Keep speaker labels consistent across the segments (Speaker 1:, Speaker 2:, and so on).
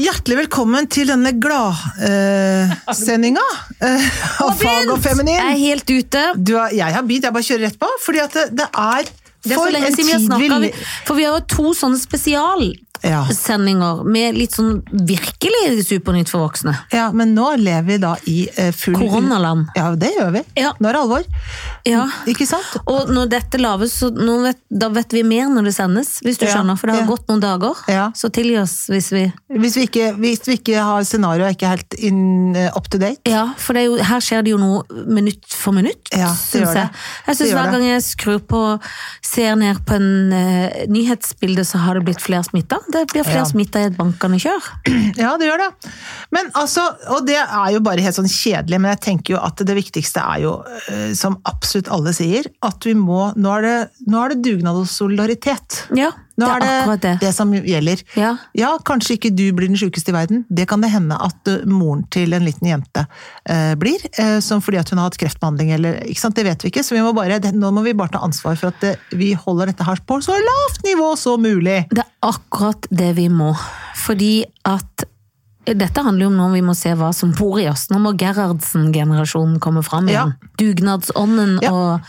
Speaker 1: Hjertelig velkommen til denne gladsendinga eh, av Fag og
Speaker 2: Jeg er
Speaker 1: Feminin.
Speaker 2: helt ute.
Speaker 1: Du har, jeg har begynt, jeg bare kjører rett på, fordi at det, det er
Speaker 2: Det er
Speaker 1: for
Speaker 2: så lenge
Speaker 1: en
Speaker 2: siden vi har
Speaker 1: tid vi
Speaker 2: snakka.
Speaker 1: le-
Speaker 2: For vi har jo to sånne spesialsendinger
Speaker 1: Ja.
Speaker 2: med litt sånn virkelig Supernytt for voksne.
Speaker 1: ja, men nå lever vi da i eh, full
Speaker 2: Koronaland.
Speaker 1: Ja, det gjør vi.
Speaker 2: Ja.
Speaker 1: Nå er det alvor.
Speaker 2: Ja.
Speaker 1: Ikke sant?
Speaker 2: Og når dette laves, så nå vet, da vet vi mer når det sendes, hvis du
Speaker 1: Ja,
Speaker 2: skjønner. For det har
Speaker 1: ja.
Speaker 2: gått noen dager.
Speaker 1: Ja.
Speaker 2: Så tilgi oss hvis vi
Speaker 1: Hvis vi ikke, hvis vi ikke har scenarioet ikke helt in, eh, up to date.
Speaker 2: Ja, for det er jo, her skjer det jo noe minutt for minutt,
Speaker 1: Ja, det gjør
Speaker 2: syns jeg.
Speaker 1: det.
Speaker 2: Jeg syns
Speaker 1: Det gjør
Speaker 2: hver
Speaker 1: det.
Speaker 2: gang jeg skrur på, ser ned på en eh, nyhetsbilde, så har det blitt flere smitta. Det blir flere
Speaker 1: Ja.
Speaker 2: smitta i et bankende kjør.
Speaker 1: Ja, det gjør det. Men altså, og det er jo bare helt sånn kjedelig, men jeg tenker jo at det viktigste er jo, eh, som absolutt alle sier, at vi må Nå er det, nå er det dugnad og solidaritet.
Speaker 2: Ja,
Speaker 1: Nå
Speaker 2: det er akkurat det.
Speaker 1: som gjelder.
Speaker 2: Ja.
Speaker 1: kanskje ikke du blir den sjukeste i verden. Det kan det hende at eh, moren til en liten jente eh, blir, eh, som fordi at hun har hatt kreftbehandling eller ikke sant, Det vet vi ikke, så vi må bare, det, nå må vi bare ta ansvar for at eh, vi holder dette her på så lavt nivå som mulig.
Speaker 2: Det er akkurat det vi må. Fordi at dette handler jo om når vi må se hva som bor i oss. Nå må Gerhardsen-generasjonen komme fram igjen. Dugnadsånden
Speaker 1: Ja.
Speaker 2: og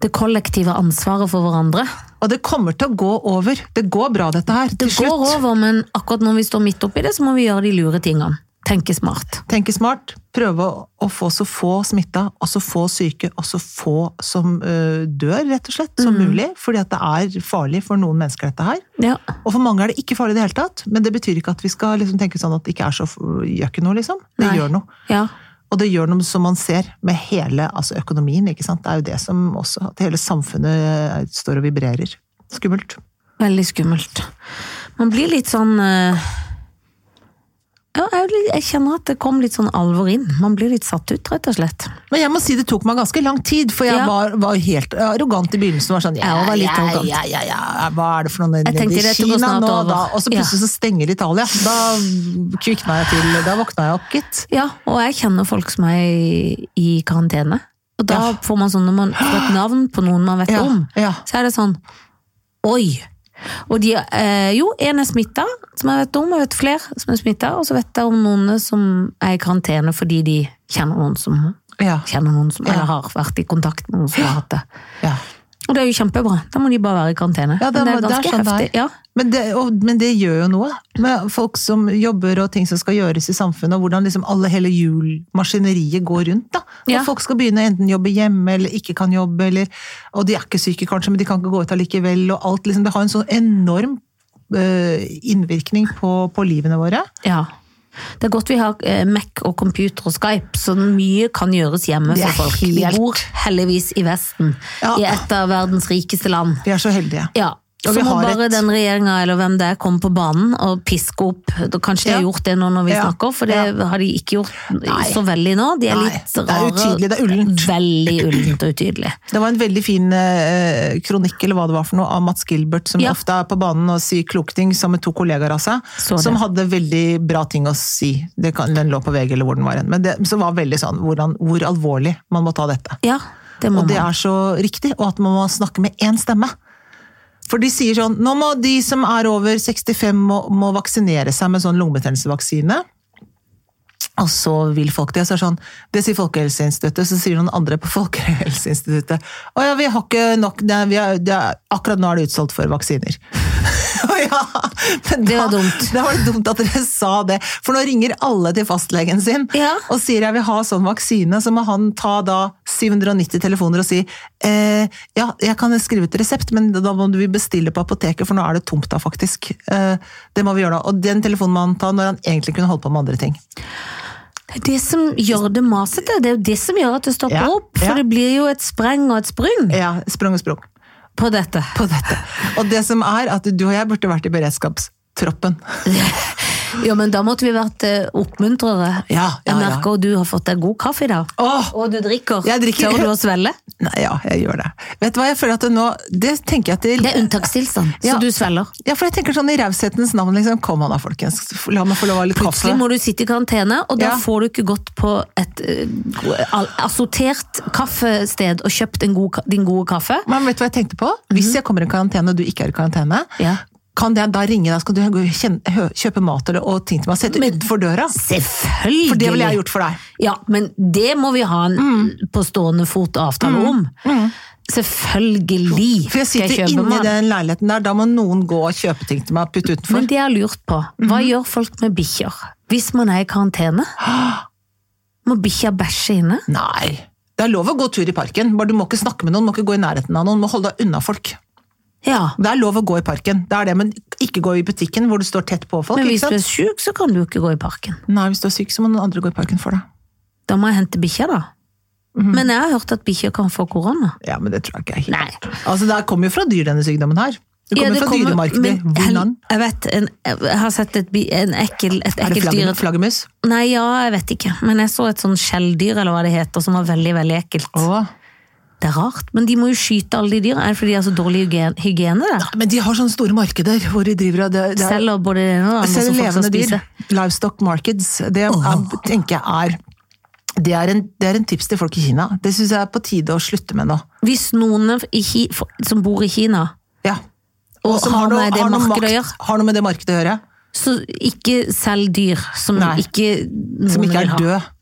Speaker 2: det kollektive ansvaret for hverandre.
Speaker 1: Og det kommer til å gå over. Det går bra, dette her.
Speaker 2: Det
Speaker 1: til slutt.
Speaker 2: går over, men akkurat når vi står midt oppi det, så må vi gjøre de lure tingene. Tenke smart.
Speaker 1: Tenke smart. Prøve å, å få så få smitta, og så få syke, og så få som ø, dør, rett og slett, som
Speaker 2: Mm.
Speaker 1: mulig. Fordi at det er farlig for noen mennesker, dette her.
Speaker 2: Ja.
Speaker 1: Og for mange er det ikke farlig i det hele tatt, men det betyr ikke at vi skal liksom tenke sånn at det ikke er så f- gjør ikke noe, liksom. Det
Speaker 2: Nei.
Speaker 1: gjør noe.
Speaker 2: ja.
Speaker 1: Og det gjør noe som man ser med hele altså økonomien, ikke sant. Det er jo det som også At hele samfunnet ø, står og vibrerer. Skummelt.
Speaker 2: Veldig skummelt. Man blir litt sånn eh, ja, jeg er litt- jeg kjenner at det kom litt sånn alvor inn. Man blir litt satt ut, rett og slett.
Speaker 1: Men jeg må si det tok meg ganske lang tid, for jeg
Speaker 2: Ja.
Speaker 1: var, var helt arrogant i begynnelsen. Var sånn, ja,
Speaker 2: Jeg var litt arrogant.
Speaker 1: Ja, ja, ja, ja, hva er det for noe nede
Speaker 2: Jeg tenkte,
Speaker 1: i
Speaker 2: dette går
Speaker 1: Kina
Speaker 2: snart
Speaker 1: nå?
Speaker 2: over.
Speaker 1: Da, og så plutselig så stenger Italia. Da kvikna jeg til, da våkna jeg opp, gitt.
Speaker 2: Ja, og jeg kjenner folk som er i, i karantene. Og da
Speaker 1: Ja.
Speaker 2: får man sånn, når man får et navn på noen man vet
Speaker 1: Ja,
Speaker 2: om,
Speaker 1: ja.
Speaker 2: så er det sånn Oi! Og de, eh, jo, en er smitta, som jeg vet om. Jeg vet flere som er smitta. Og så vet jeg om noen som er i karantene fordi de kjenner noen som,
Speaker 1: Ja,
Speaker 2: kjenner noen som
Speaker 1: Ja.
Speaker 2: eller har vært i kontakt med noen som har hatt det.
Speaker 1: ja.
Speaker 2: Og det er jo kjempebra. Da må de bare være i karantene.
Speaker 1: Ja, det
Speaker 2: Men
Speaker 1: må- det er sånn det er.
Speaker 2: Ja.
Speaker 1: Men det, og, men det gjør jo noe med folk som jobber og ting som skal gjøres i samfunnet, og hvordan liksom alle hele hjulmaskineriet går rundt. da. Når
Speaker 2: Ja.
Speaker 1: folk skal begynne å enten jobbe hjemme eller ikke kan jobbe, eller, og de er ikke syke kanskje, men de kan ikke gå ut allikevel. og alt liksom, Det har en sånn enorm eh, innvirkning på, på livene våre.
Speaker 2: ja. Det er godt vi har eh, Mac og computer og Skype, så mye kan gjøres hjemme
Speaker 1: Det er
Speaker 2: for folk. Vi
Speaker 1: helt-
Speaker 2: bor heldigvis i Vesten,
Speaker 1: Ja.
Speaker 2: i et av verdens rikeste land.
Speaker 1: Vi er så heldige.
Speaker 2: Ja.
Speaker 1: Og
Speaker 2: Så
Speaker 1: vi
Speaker 2: må
Speaker 1: har
Speaker 2: bare
Speaker 1: et-
Speaker 2: den regjeringa eller hvem det er, komme på banen og piske opp. Da Kanskje de har
Speaker 1: Ja.
Speaker 2: gjort det nå når vi
Speaker 1: Ja.
Speaker 2: snakker, for det har de ikke gjort så veldig nå. De er
Speaker 1: Nei,
Speaker 2: litt
Speaker 1: det er
Speaker 2: rare.
Speaker 1: utydelig, det er ullent.
Speaker 2: Veldig ullent og utydelig.
Speaker 1: Det var en veldig fin eh, kronikk eller hva det var for noe, av Mats Gilbert, som
Speaker 2: Ja.
Speaker 1: ofte er på banen og sier kloke ting sammen med to kollegaer av seg,
Speaker 2: Så det.
Speaker 1: som hadde veldig bra ting å si. Det kan, den lå på VG eller hvor den var hen. Men det som var veldig sånn hvordan, hvor alvorlig man må ta dette.
Speaker 2: Ja, det må
Speaker 1: Og det
Speaker 2: man.
Speaker 1: er så riktig, og at man må snakke med én stemme. For de sier sånn Nå må de som er over 65 må, må vaksinere seg med sånn lungebetennelsevaksine. Og så vil folk det. Så er det sånn, det sier Folkehelseinstituttet, så sier noen andre på Folkehelseinstituttet Å ja, vi har ikke nok det, er- vi er, det er, Akkurat nå er det utsolgt for vaksiner. Å ja, men
Speaker 2: Det var
Speaker 1: da-
Speaker 2: dumt.
Speaker 1: Da var det dumt at dere sa det. For nå ringer alle til fastlegen sin
Speaker 2: Ja.
Speaker 1: og sier jeg vil ha sånn vaksine, så må han ta da 790 telefoner og si eh, ja, jeg kan skrive ut resept, men da må du bestille på apoteket, for nå er det tomt da, faktisk. Eh, det må vi gjøre da. Og den telefonen må han ta når han egentlig kunne holdt på med andre ting.
Speaker 2: Det er det som gjør det masete. Det er jo det som gjør at det stopper
Speaker 1: Ja,
Speaker 2: opp. For
Speaker 1: ja.
Speaker 2: det blir jo et spreng og et sprung
Speaker 1: Ja, sprung og sprung
Speaker 2: på dette.
Speaker 1: på dette. Og det som er at du og jeg burde vært i beredskapstroppen.
Speaker 2: Jo, men da måtte vi vært eh, oppmuntrere.
Speaker 1: Ja, ja,
Speaker 2: jeg
Speaker 1: ja.
Speaker 2: merker at du har fått deg god kaffe i dag.
Speaker 1: Åh!
Speaker 2: Og du drikker.
Speaker 1: Jeg drikker.
Speaker 2: Tør du å svelle?
Speaker 1: Nei, ja, jeg gjør det. Vet du hva, jeg føler at det nå, det tenker jeg at det,
Speaker 2: Det er unntakstilstand,
Speaker 1: Ja.
Speaker 2: så du svelger.
Speaker 1: Ja, for jeg tenker sånn i raushetens navn, liksom. Kom an da, folkens. La meg få lov å ha litt kaffe.
Speaker 2: Plutselig må du sitte i karantene, og da
Speaker 1: Ja.
Speaker 2: får du ikke gått på et eh, al- assortert kaffested og kjøpt en god, ka- din gode kaffe.
Speaker 1: Men vet du hva jeg tenkte på? Hvis jeg kommer i karantene og du ikke er i karantene,
Speaker 2: Mhm. Ja.
Speaker 1: Kan jeg da ringe deg, så kan du gå og kjen- hø- kjøpe mat eller, og ting til meg? Sette
Speaker 2: Men-
Speaker 1: utenfor døra?
Speaker 2: Selvfølgelig!
Speaker 1: For det ville jeg gjort Mm. for deg.
Speaker 2: Ja, men det må vi ha en på stående fot avtale om. Selvfølgelig
Speaker 1: Mm. For jeg sitter inni den leiligheten der, da må noen gå og kjøpe ting til meg og putte utenfor.
Speaker 2: Men det jeg har lurt på, hva
Speaker 1: Mhm.
Speaker 2: gjør folk med bikkjer hvis man er i karantene? Må bikkja bæsje inne?
Speaker 1: Nei. Det er lov å gå tur i parken, bare du må ikke snakke med noen, du må ikke gå i nærheten av noen, du må holde deg unna folk.
Speaker 2: Ja.
Speaker 1: Det er lov å gå i parken, det er det, men ikke gå i butikken hvor du står tett på folk.
Speaker 2: Men hvis
Speaker 1: ikke
Speaker 2: du
Speaker 1: sant?
Speaker 2: er syk, så kan du ikke gå i parken.
Speaker 1: Nei, hvis du er syk, så må noen andre gå i parken for deg.
Speaker 2: Da må jeg hente bikkja, da.
Speaker 1: Mhm.
Speaker 2: Men jeg har hørt at bikkjer kan få korona.
Speaker 1: Ja, men det tror jeg ikke er helt
Speaker 2: Nei.
Speaker 1: Altså, det kommer jo fra dyr, denne sykdommen her. Det
Speaker 2: Ja,
Speaker 1: kommer
Speaker 2: det
Speaker 1: fra
Speaker 2: kommer-
Speaker 1: dyremarkedet.
Speaker 2: men
Speaker 1: i
Speaker 2: hel-
Speaker 1: Wuhan.
Speaker 2: Jeg vet, en, jeg har sett et, bi- en ekkel, et
Speaker 1: Er det
Speaker 2: ekkelt dyr
Speaker 1: flagge- flaggermus?
Speaker 2: Nei, ja, jeg vet ikke. Men jeg så et sånn skjelldyr, eller hva det heter, som var veldig, veldig ekkelt.
Speaker 1: Åh.
Speaker 2: Det er rart, men de må jo skyte alle de dyra. Er det fordi de har så dårlig hygiene, hygiene der?
Speaker 1: Men de har sånne store markeder hvor de driver og det, det er,
Speaker 2: Selger både det ene og det andre
Speaker 1: Selv
Speaker 2: som folk skal
Speaker 1: Altså, levende dyr.
Speaker 2: spise.
Speaker 1: Livestock markets. Det er, tenker jeg er det er, en, det er en tips til folk i Kina. Det syns jeg er på tide å slutte med nå.
Speaker 2: Hvis noen i, Ki- for- som bor i Kina,
Speaker 1: Ja.
Speaker 2: Og
Speaker 1: som
Speaker 2: har med det markedet å
Speaker 1: makt,
Speaker 2: gjøre?
Speaker 1: har noe med det markedet å gjøre.
Speaker 2: så ikke selg dyr som
Speaker 1: Nei.
Speaker 2: ikke noen
Speaker 1: Som ikke
Speaker 2: vil
Speaker 1: er
Speaker 2: ha.
Speaker 1: død.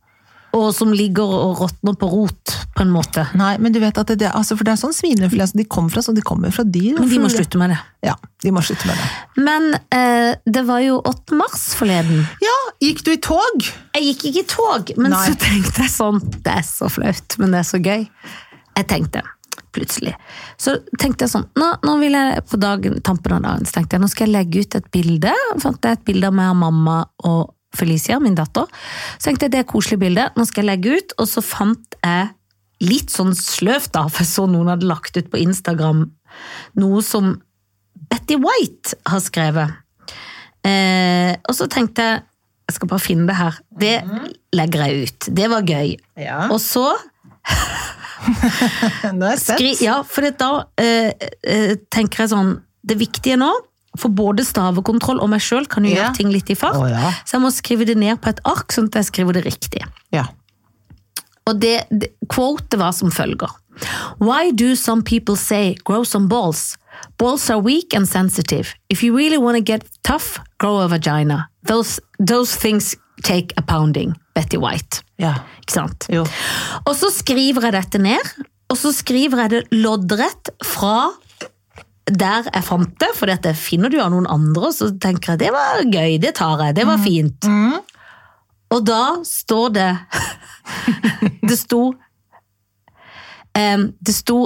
Speaker 2: Og som ligger og råtner på rot, på en måte.
Speaker 1: Nei, men du vet at det, det, altså, for det er sånn svineinfluensa de kommer fra. Så de kommer fra dyr. og
Speaker 2: Men de må
Speaker 1: fugler.
Speaker 2: slutte med det.
Speaker 1: Ja, de må slutte med det.
Speaker 2: Men eh, det var jo 8. mars forleden.
Speaker 1: Ja, gikk du i tog?
Speaker 2: Jeg gikk ikke i tog, men
Speaker 1: Nei.
Speaker 2: så tenkte jeg sånn Det er så flaut, men det er så gøy. Jeg tenkte plutselig. Så tenkte jeg sånn Nå, nå vil jeg på dagen, tampen av dagen så tenkte jeg, nå skal jeg legge ut et bilde. Fant jeg et bilde av meg og mamma og Felicia, min datter. Så tenkte jeg det er et koselig bilde, nå skal jeg legge ut. Og så fant jeg litt sånn sløvt, da, for jeg så noen hadde lagt ut på Instagram noe som Betty White har skrevet. Eh, og så tenkte jeg jeg skal bare finne det her. Det legger jeg ut. Det var gøy.
Speaker 1: Ja.
Speaker 2: Og så
Speaker 1: Nå er jeg spent.
Speaker 2: skri, Ja, for det da eh, eh, tenker jeg sånn Det viktige nå, for både stavekontroll og meg sjøl kan jo
Speaker 1: Ja.
Speaker 2: gjøre ting litt i fart,
Speaker 1: Å, ja.
Speaker 2: så jeg må skrive det ned på et ark, sånn at jeg skriver det riktig.
Speaker 1: Ja.
Speaker 2: Og det, det quotet var som følger. Why do some people say grow some balls? Balls are weak and sensitive. If you really want to get tough, grow a vagina. Those, those things take a pounding. Betty White.
Speaker 1: ja.
Speaker 2: Ikke sant?
Speaker 1: Jo.
Speaker 2: Og så skriver jeg dette ned, og så skriver jeg det loddrett fra der jeg fant det, for dette finner du av noen andre, og så tenker jeg det var gøy, det tar jeg, det var fint. Og da står det Det sto em, Det sto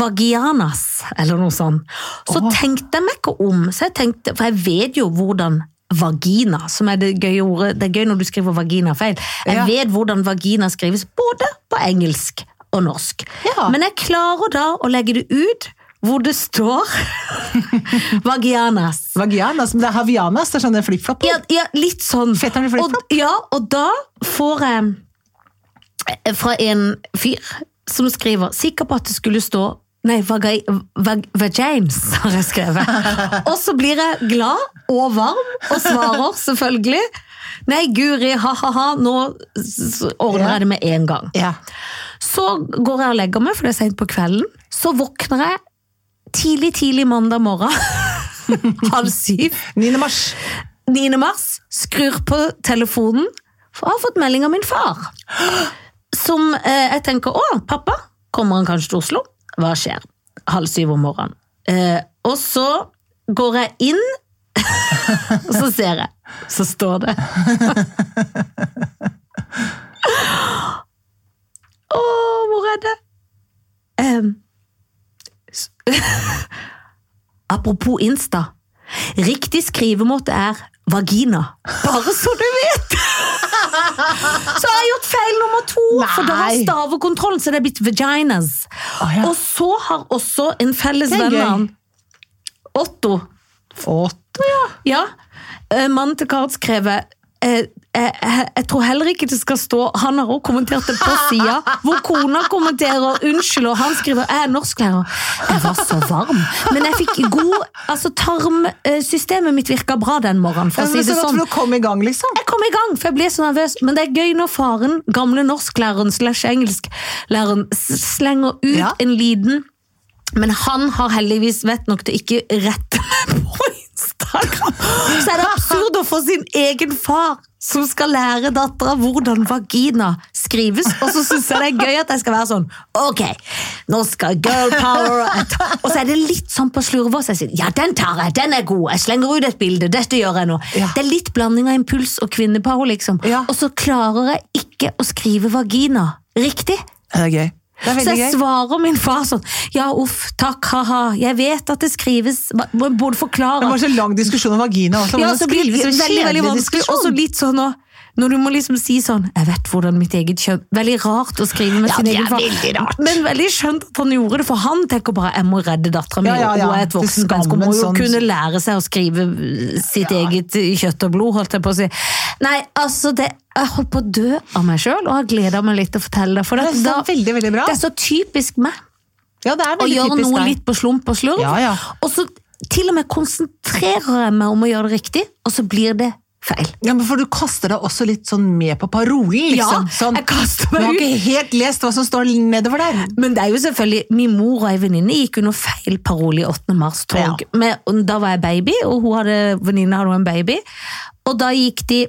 Speaker 2: vagianas, eller noe sånt. Så
Speaker 1: Åh.
Speaker 2: tenkte jeg meg ikke om, så jeg tenkte, for jeg vet jo hvordan vagina, som er det gøye ordet, det er gøy når du skriver vagina feil, jeg
Speaker 1: Ja.
Speaker 2: vet hvordan vagina skrives både på engelsk og norsk.
Speaker 1: Ja.
Speaker 2: Men jeg klarer da å legge det ut hvor det står vagianas.
Speaker 1: Vagianas, men det er havianas, det er sånne flippflapper.
Speaker 2: Ja, ja, litt sånn.
Speaker 1: Fetteren i flip-flop.
Speaker 2: Og, ja, og da får jeg fra en fyr som skriver Sikker på at det skulle stå Nei, vagai, vag, vagines, har jeg skrevet. Og så blir jeg glad og varm og svarer selvfølgelig. Nei, guri, ha-ha-ha, nå s- s- ordner jeg det med en gang.
Speaker 1: Ja.
Speaker 2: Så går jeg og legger meg, for det er sent på kvelden. Så våkner jeg tidlig, tidlig mandag morgen. Halv syv.
Speaker 1: 9. mars.
Speaker 2: 9. mars, skrur på telefonen, for jeg har fått melding av min far. Som eh, jeg tenker, å, pappa, kommer han kanskje til Oslo? Hva skjer? Halv syv om morgenen. Eh, og så går jeg inn, og så ser jeg. Så står det. Å, hvor er det? Em, s- apropos Insta. Riktig skrivemåte er vagina. Bare så du vet! så har jeg gjort feil nummer to, for da har
Speaker 1: Nei.
Speaker 2: stavekontrollen, så det er blitt vaginas.
Speaker 1: Å, ja.
Speaker 2: Og så har også en felles
Speaker 1: Det er
Speaker 2: venn
Speaker 1: gøy.
Speaker 2: av han, Otto,
Speaker 1: Åtte.
Speaker 2: ja, eh, mannen til Kart, skrevet eh, eh, eh, jeg tror heller ikke det skal stå Han har også kommentert det på sida, hvor kona kommenterer 'unnskyld', og han skriver 'jeg er norsklærer'. Jeg var så varm. Men jeg fikk god altså Tarmsystemet mitt virka bra den morgenen, for
Speaker 1: Ja,
Speaker 2: å si
Speaker 1: men Altså, så
Speaker 2: det
Speaker 1: godt
Speaker 2: sånn.
Speaker 1: for å komme i gang, liksom.
Speaker 2: Jeg kom i gang, for jeg ble så nervøs. Men det er gøy når faren, gamle norsklæreren slash engelsklæreren, s- slenger ut
Speaker 1: Ja.
Speaker 2: en liten Men han har heldigvis vett nok til å ikke rette meg på datteren. Så er det absurd å få sin egen far som skal lære dattera hvordan vagina skrives. Og så syns jeg det er gøy at jeg skal være sånn Ok, nå skal girl power et. Og så er det litt sånn på Slurvås. Jeg sier ja, den tar jeg, den er god. Jeg slenger ut et bilde. Dette gjør jeg nå.
Speaker 1: Ja.
Speaker 2: Det er litt blanding av impuls og kvinnepower, liksom.
Speaker 1: Ja.
Speaker 2: Og så klarer jeg ikke å skrive vagina riktig.
Speaker 1: Det er gøy. Det er
Speaker 2: Så
Speaker 1: veldig
Speaker 2: jeg
Speaker 1: gøy.
Speaker 2: svarer min far sånn Ja, uff, takk, ha-ha. Jeg vet at det skrives Hva- Må må du
Speaker 1: Det
Speaker 2: forklare?
Speaker 1: var så lang diskusjon om vagina også.
Speaker 2: Ja,
Speaker 1: men
Speaker 2: så
Speaker 1: det
Speaker 2: blir det
Speaker 1: sånn skrives en
Speaker 2: veldig, veldig
Speaker 1: kjedelig
Speaker 2: vanskelig.
Speaker 1: diskusjon.
Speaker 2: Og så litt sånn å- når du må liksom si sånn Jeg vet hvordan mitt eget kjønn Veldig rart å skrive med
Speaker 1: Ja,
Speaker 2: sin
Speaker 1: det
Speaker 2: egen
Speaker 1: er
Speaker 2: far.
Speaker 1: veldig rart.
Speaker 2: Men veldig skjønt at han gjorde det, for han tenker bare 'jeg må redde dattera mi'.
Speaker 1: Ja, ja, ja.
Speaker 2: Hun er et
Speaker 1: Til
Speaker 2: voksen menneske og må jo
Speaker 1: skammen, sånn-
Speaker 2: kunne lære seg å skrive sitt eget kjøtt og blod, holdt jeg på å si. Nei, altså, det, jeg holdt på å dø av meg sjøl, og har gleda meg litt til å fortelle det. For
Speaker 1: Det
Speaker 2: at
Speaker 1: er
Speaker 2: da,
Speaker 1: så veldig, veldig bra.
Speaker 2: det er så typisk meg
Speaker 1: Ja, det er
Speaker 2: og
Speaker 1: veldig
Speaker 2: gjør
Speaker 1: typisk
Speaker 2: noe
Speaker 1: deg.
Speaker 2: litt på slump og slurv.
Speaker 1: Ja, ja.
Speaker 2: Og så til og med konsentrerer jeg meg om å gjøre det riktig, og så blir det feil.
Speaker 1: Ja, men for du kaster deg også litt sånn med på parolen, liksom.
Speaker 2: Ja,
Speaker 1: sånn,
Speaker 2: jeg kaster
Speaker 1: du
Speaker 2: meg
Speaker 1: har
Speaker 2: ut.
Speaker 1: ikke helt lest hva som står nedover der.
Speaker 2: Men det er jo selvfølgelig, min mor og ei venninne gikk under feil parole i 8. mars-tog.
Speaker 1: Ja.
Speaker 2: Men Da var jeg baby, og hun hadde, venninna hadde også en baby. Og da gikk de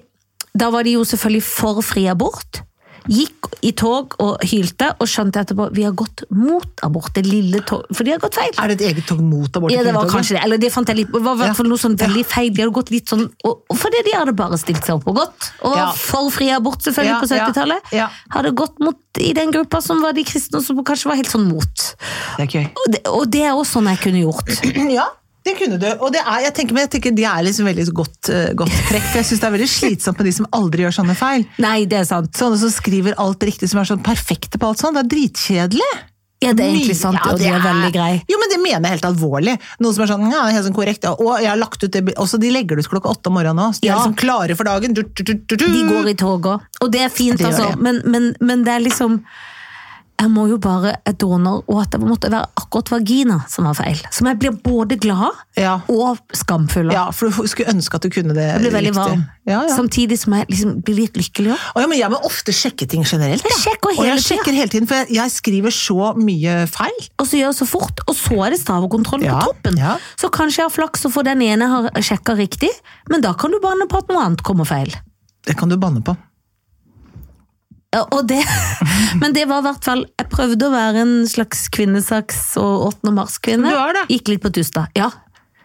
Speaker 2: Da var de jo selvfølgelig for fri abort. Gikk i tog og hylte, og skjønte etterpå vi har gått mot abort. Det lille tog, For de har gått feil.
Speaker 1: Er det et eget tog mot abort? i
Speaker 2: Ja, det var
Speaker 1: Piletoget?
Speaker 2: kanskje det. Eller det fant jeg litt, det var i hvert fall noe sånn veldig feil. De hadde gått litt sånn, og, og fordi de hadde bare stilt seg opp og gått. Og var
Speaker 1: Ja.
Speaker 2: for fri abort selvfølgelig
Speaker 1: Ja,
Speaker 2: på 70-tallet.
Speaker 1: ja, ja.
Speaker 2: Hadde gått mot i den gruppa som var de kristne, som kanskje var helt sånn mot.
Speaker 1: Det er gøy.
Speaker 2: Og det, og det er også sånn jeg kunne gjort.
Speaker 1: Ja, det kunne du. Og det er, jeg tenker, men jeg tenker, det er liksom veldig godt, eh, godt trekk, for jeg syns det er veldig slitsomt med de som aldri gjør sånne feil.
Speaker 2: Nei, det er sant.
Speaker 1: Sånne som skriver alt riktig, som er sånn perfekte på alt sånn. Det er dritkjedelig.
Speaker 2: Ja, det er egentlig
Speaker 1: Mye-
Speaker 2: sant,
Speaker 1: Ja,
Speaker 2: og det er veldig grei.
Speaker 1: Jo, men det mener jeg helt alvorlig. Noen som er sånn, ja, det er helt sånn korrekt, ja. Og jeg har lagt ut det, bi- også de legger det ut klokka åtte om morgenen nå, så de
Speaker 2: Ja.
Speaker 1: er liksom klare for dagen. Du, du, du, du, du.
Speaker 2: De går i tog òg. Og det er fint,
Speaker 1: Det gjør
Speaker 2: altså.
Speaker 1: det.
Speaker 2: Men, men, men det er liksom Jeg må jo bare et donor, og at det måtte være akkurat vagina som var feil. Som jeg blir både glad
Speaker 1: Ja.
Speaker 2: og skamfull av.
Speaker 1: Ja, for du skulle ønske at du kunne det.
Speaker 2: Jeg blir
Speaker 1: riktig.
Speaker 2: veldig varm.
Speaker 1: Ja, ja.
Speaker 2: Samtidig som jeg liksom blir litt lykkelig òg.
Speaker 1: Å, ja, men jeg må ofte sjekke ting generelt.
Speaker 2: Jeg
Speaker 1: da.
Speaker 2: sjekker
Speaker 1: og
Speaker 2: hele
Speaker 1: jeg
Speaker 2: tiden.
Speaker 1: sjekker hele tiden, for jeg, jeg skriver så mye feil.
Speaker 2: Og så gjør jeg så fort, og så er det stavekontroll
Speaker 1: Ja,
Speaker 2: på toppen.
Speaker 1: ja.
Speaker 2: Så kanskje jeg har flaks og får den ene har sjekka riktig, men da kan du banne på at noe annet kommer feil.
Speaker 1: Det kan du banne på.
Speaker 2: Ja, Og det, men det var i hvert fall Jeg prøvde å være en slags kvinnesaks- og 8. mars-kvinne.
Speaker 1: Du er det.
Speaker 2: Gikk litt på tusta. Ja,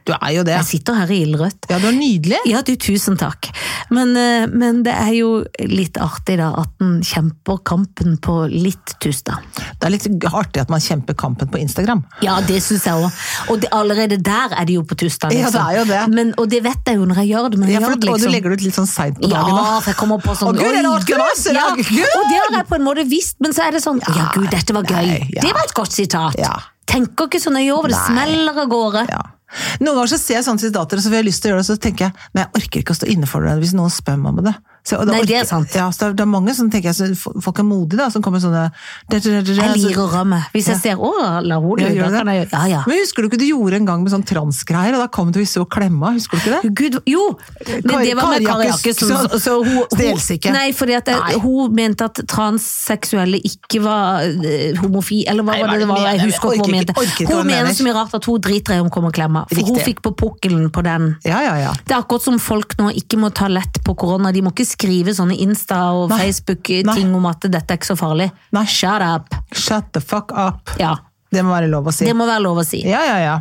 Speaker 1: Du er jo det.
Speaker 2: jeg sitter her i ildrødt.
Speaker 1: Ja, du er nydelig.
Speaker 2: Ja, du, tusen takk. Men, eh, men det er jo litt artig, da, at en kjemper kampen på litt tusta.
Speaker 1: Det er litt artig at man kjemper kampen på Instagram.
Speaker 2: Ja, det syns jeg òg. Og det, allerede der er de jo på tusta.
Speaker 1: Ja,
Speaker 2: liksom.
Speaker 1: det er jo det.
Speaker 2: Men, og det vet jeg jo når jeg gjør det. Men jeg
Speaker 1: Ja, for,
Speaker 2: gjør det
Speaker 1: Og du
Speaker 2: liksom.
Speaker 1: legger det ut litt sånn seint på dagen.
Speaker 2: ja,
Speaker 1: da.
Speaker 2: for jeg kommer på sånn
Speaker 1: Å, Gud,
Speaker 2: oi,
Speaker 1: er det artig
Speaker 2: Gud!
Speaker 1: med oss? Er det
Speaker 2: ja.
Speaker 1: artig? Gud!
Speaker 2: Og det har jeg på en måte visst, men så er det sånn Ja, gud, dette var gøy.
Speaker 1: nei, ja.
Speaker 2: Det var et godt sitat.
Speaker 1: Ja.
Speaker 2: Tenker ikke så nøye over det. Smeller av gårde.
Speaker 1: Ja. Noen ganger så ser jeg sånne sitater, og så får jeg lyst til å gjøre det, og så tenker jeg men jeg orker ikke å stå inne for det hvis noen spør meg om det. Så, og da
Speaker 2: Nei, det er
Speaker 1: orker-
Speaker 2: sant.
Speaker 1: Ja, så det er- det er mange som tenker jeg, så f- folk er modige, da, som kommer sånne
Speaker 2: Jeg
Speaker 1: Jeg
Speaker 2: lirer av meg. Hvis jeg ser å, la henne
Speaker 1: Ja,
Speaker 2: lure,
Speaker 1: gjør
Speaker 2: da
Speaker 1: det?
Speaker 2: kan jeg gjøre Ja, ja.
Speaker 1: Men husker du ikke du gjorde en gang med sånn transgreier, og da kom du i så klemma, husker du ikke det?
Speaker 2: Gud, jo! Men
Speaker 1: Kari-
Speaker 2: det var med
Speaker 1: Kari
Speaker 2: Kari
Speaker 1: Jakkes,
Speaker 2: Jakkes. som-
Speaker 1: så- så hun- Stelsike.
Speaker 2: Nei, fordi at
Speaker 1: Nei.
Speaker 2: jeg, hun mente at transseksuelle ikke var eh, homofi, eller hva
Speaker 1: Nei,
Speaker 2: var
Speaker 1: hva
Speaker 2: det det var?
Speaker 1: mener
Speaker 2: Jeg
Speaker 1: du?
Speaker 2: husker ikke hva hun
Speaker 1: Orker ikke-
Speaker 2: mente.
Speaker 1: orker ikke hva
Speaker 2: Hun
Speaker 1: hun
Speaker 2: mener
Speaker 1: mener.
Speaker 2: så mye rart at hun driter i om kommer klemmer, for hun
Speaker 1: Riktig.
Speaker 2: fikk på pukkelen på den.
Speaker 1: Ja, ja, ja.
Speaker 2: Det er akkurat som folk nå ikke må ta lett på korona. De må ikke skrive sånne Insta- og
Speaker 1: Nei.
Speaker 2: Facebook-ting
Speaker 1: Nei.
Speaker 2: om at dette er ikke så farlig.
Speaker 1: Nei.
Speaker 2: Shut up!
Speaker 1: Shut the fuck up.
Speaker 2: Ja,
Speaker 1: Det må være lov å si.
Speaker 2: det må være lov å si.
Speaker 1: Ja, ja, ja.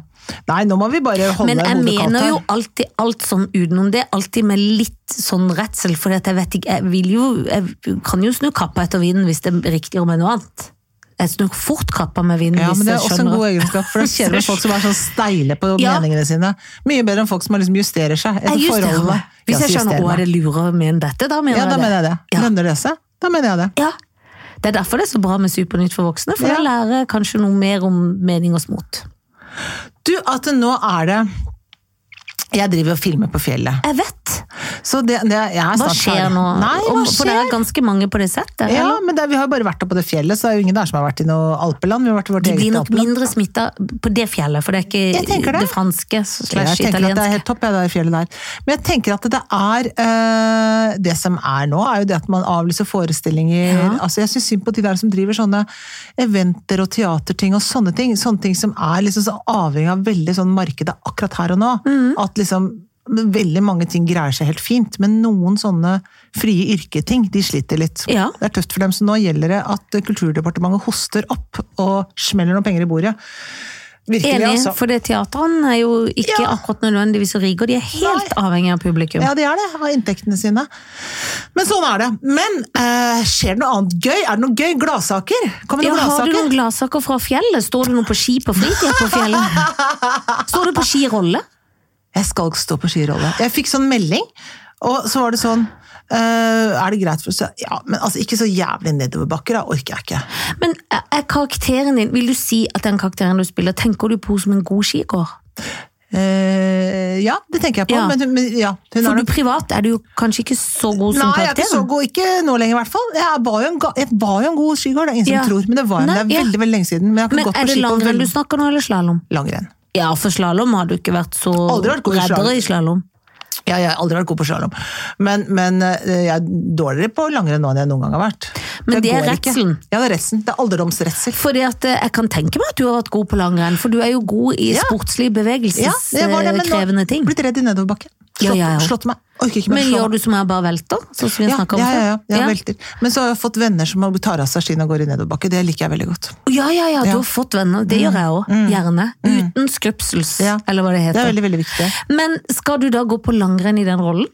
Speaker 1: Nei, nå må vi bare holde
Speaker 2: Men jeg
Speaker 1: hodet kaldt
Speaker 2: mener
Speaker 1: her.
Speaker 2: jo alltid alt sånn utenom det, alltid med litt sånn redsel, for jeg vet ikke, jeg vil jo, jeg kan jo snu kappa etter vinden hvis det er riktig om noe annet. Jeg snur fort kappa med vinden
Speaker 1: Ja,
Speaker 2: hvis
Speaker 1: men Det
Speaker 2: jeg
Speaker 1: er også en
Speaker 2: skjønner
Speaker 1: god
Speaker 2: at-
Speaker 1: egenskap, for det er kjedelig med folk som er sånn steile på
Speaker 2: Ja.
Speaker 1: meningene sine. Mye bedre enn folk som har liksom justerer seg etter
Speaker 2: Jeg justerer
Speaker 1: forholdene.
Speaker 2: meg. Hvis
Speaker 1: Ja,
Speaker 2: jeg
Speaker 1: så
Speaker 2: skjønner
Speaker 1: justerer
Speaker 2: å,
Speaker 1: meg.
Speaker 2: er det lurer med enn dette, da mener
Speaker 1: Ja, da mener jeg det.
Speaker 2: Ja.
Speaker 1: Lønner det seg? Da mener jeg det.
Speaker 2: Ja. Det er derfor det er så bra med Supernytt for voksne, for
Speaker 1: Ja.
Speaker 2: da lærer jeg kanskje noe mer om mening og smot.
Speaker 1: Du, at nå er det Jeg driver og filmer på fjellet.
Speaker 2: Jeg vet!
Speaker 1: Så det, det jeg er
Speaker 2: Hva
Speaker 1: snart
Speaker 2: skjer
Speaker 1: ferdig.
Speaker 2: nå?
Speaker 1: Nei, hva
Speaker 2: Om- For det er
Speaker 1: skjer?
Speaker 2: ganske mange på det settet.
Speaker 1: Ja,
Speaker 2: eller?
Speaker 1: men det, Vi har jo bare vært oppe på det fjellet, så det er jo ingen der som har vært i noe alpeland. Vi har vært i vårt
Speaker 2: Det blir
Speaker 1: eget
Speaker 2: nok
Speaker 1: alpeland.
Speaker 2: mindre smitta på det fjellet, for det er
Speaker 1: Jeg
Speaker 2: ikke
Speaker 1: tenker
Speaker 2: det
Speaker 1: det.
Speaker 2: franske
Speaker 1: Jeg
Speaker 2: slash
Speaker 1: tenker at det er
Speaker 2: italienske.
Speaker 1: helt topp, jeg, det fjellet der. Men jeg tenker at det er eh, Det som er nå, er jo det at man avlyser forestillinger.
Speaker 2: Ja.
Speaker 1: Altså, jeg syns synd på de der som driver sånne eventer og teaterting og
Speaker 2: Mhm.
Speaker 1: sånne ting. Sånne ting som er liksom så avhengig av veldig sånn markedet akkurat her og nå. At liksom men Veldig mange ting greier seg helt fint, men noen sånne frie yrketing de sliter litt.
Speaker 2: Ja.
Speaker 1: Det er tøft for dem, så nå gjelder det at Kulturdepartementet hoster opp og smeller noen penger i bordet. Virkelig,
Speaker 2: Enig,
Speaker 1: altså.
Speaker 2: for det teateren er jo ikke
Speaker 1: Ja.
Speaker 2: akkurat nødvendigvis så rike, og de er helt avhengig av publikum.
Speaker 1: Ja, de er det, av inntektene sine. Men sånn er det. Men eh, skjer det noe annet gøy? Er det noe gøy? Gladsaker? Kommer det
Speaker 2: Ja,
Speaker 1: noen
Speaker 2: har du
Speaker 1: gladsaker?
Speaker 2: noen gladsaker fra fjellet? Står du noe på ski på fritida på fjellet? Står du på skirolle?
Speaker 1: Jeg skal ikke stå på skirolle. Jeg fikk sånn melding, og så var det sånn eh, Er det greit for oss? Ja, men altså, ikke så jævlig nedoverbakker, da orker jeg ikke.
Speaker 2: Men er er karakteren din, vil du si at den karakteren du spiller, tenker du på henne som en god skigåer?
Speaker 1: Eh, ja, det tenker jeg på.
Speaker 2: Ja.
Speaker 1: Men, men ja, hun
Speaker 2: For
Speaker 1: er
Speaker 2: du privat er du jo kanskje ikke så god
Speaker 1: Nei,
Speaker 2: som
Speaker 1: jeg er ikke så
Speaker 2: karakteren.
Speaker 1: god. Ikke nå lenger, i hvert fall. Jeg var jo en, ga- jeg var jo en god skigåer, det er ingen som
Speaker 2: Ja.
Speaker 1: tror. Men det var en, det
Speaker 2: Nei,
Speaker 1: er
Speaker 2: ja.
Speaker 1: veldig veldig lenge siden. Men jeg har ikke
Speaker 2: Men
Speaker 1: gått på
Speaker 2: er det
Speaker 1: ski på
Speaker 2: langrenn du
Speaker 1: veldig
Speaker 2: snakker nå, eller slalåm?
Speaker 1: langrenn.
Speaker 2: Ja, for slalåm har du ikke vært så
Speaker 1: Aldri vært god i
Speaker 2: reddere
Speaker 1: slalom.
Speaker 2: i slalåm.
Speaker 1: Ja, jeg har aldri vært god på slalåm, men, men eh, jeg er dårligere på langrenn nå enn jeg noen gang har vært.
Speaker 2: Men det er
Speaker 1: går ikke.
Speaker 2: redselen.
Speaker 1: Ja, det er redselen. Det er alderdomsredsel.
Speaker 2: Fordi at eh, jeg kan tenke meg at du har vært god på langrenn, for du er jo god i
Speaker 1: Ja.
Speaker 2: sportslig
Speaker 1: Ja, det var det, men nå-
Speaker 2: bevegelseskrevende ting.
Speaker 1: Blitt redd i nedoverbakken. Slått,
Speaker 2: Ja, ja, ja.
Speaker 1: slått meg. Orker ikke mer.
Speaker 2: Men
Speaker 1: slå
Speaker 2: gjør
Speaker 1: meg.
Speaker 2: du som jeg bare velter? Sånn som vi
Speaker 1: ja,
Speaker 2: snakket om
Speaker 1: ja, ja, ja,
Speaker 2: før?
Speaker 1: jeg velter. Men så har jeg fått venner som tar av seg skiene og går i nedoverbakke. Det liker jeg veldig godt.
Speaker 2: Ja, ja, ja, du
Speaker 1: Ja. Mm.
Speaker 2: har fått venner. Det gjør jeg òg. Gjerne. Uten skrupsels,
Speaker 1: Ja.
Speaker 2: eller hva
Speaker 1: Det
Speaker 2: det
Speaker 1: er
Speaker 2: heter.
Speaker 1: veldig, veldig viktig.
Speaker 2: Men skal du da gå på langrenn i den rollen?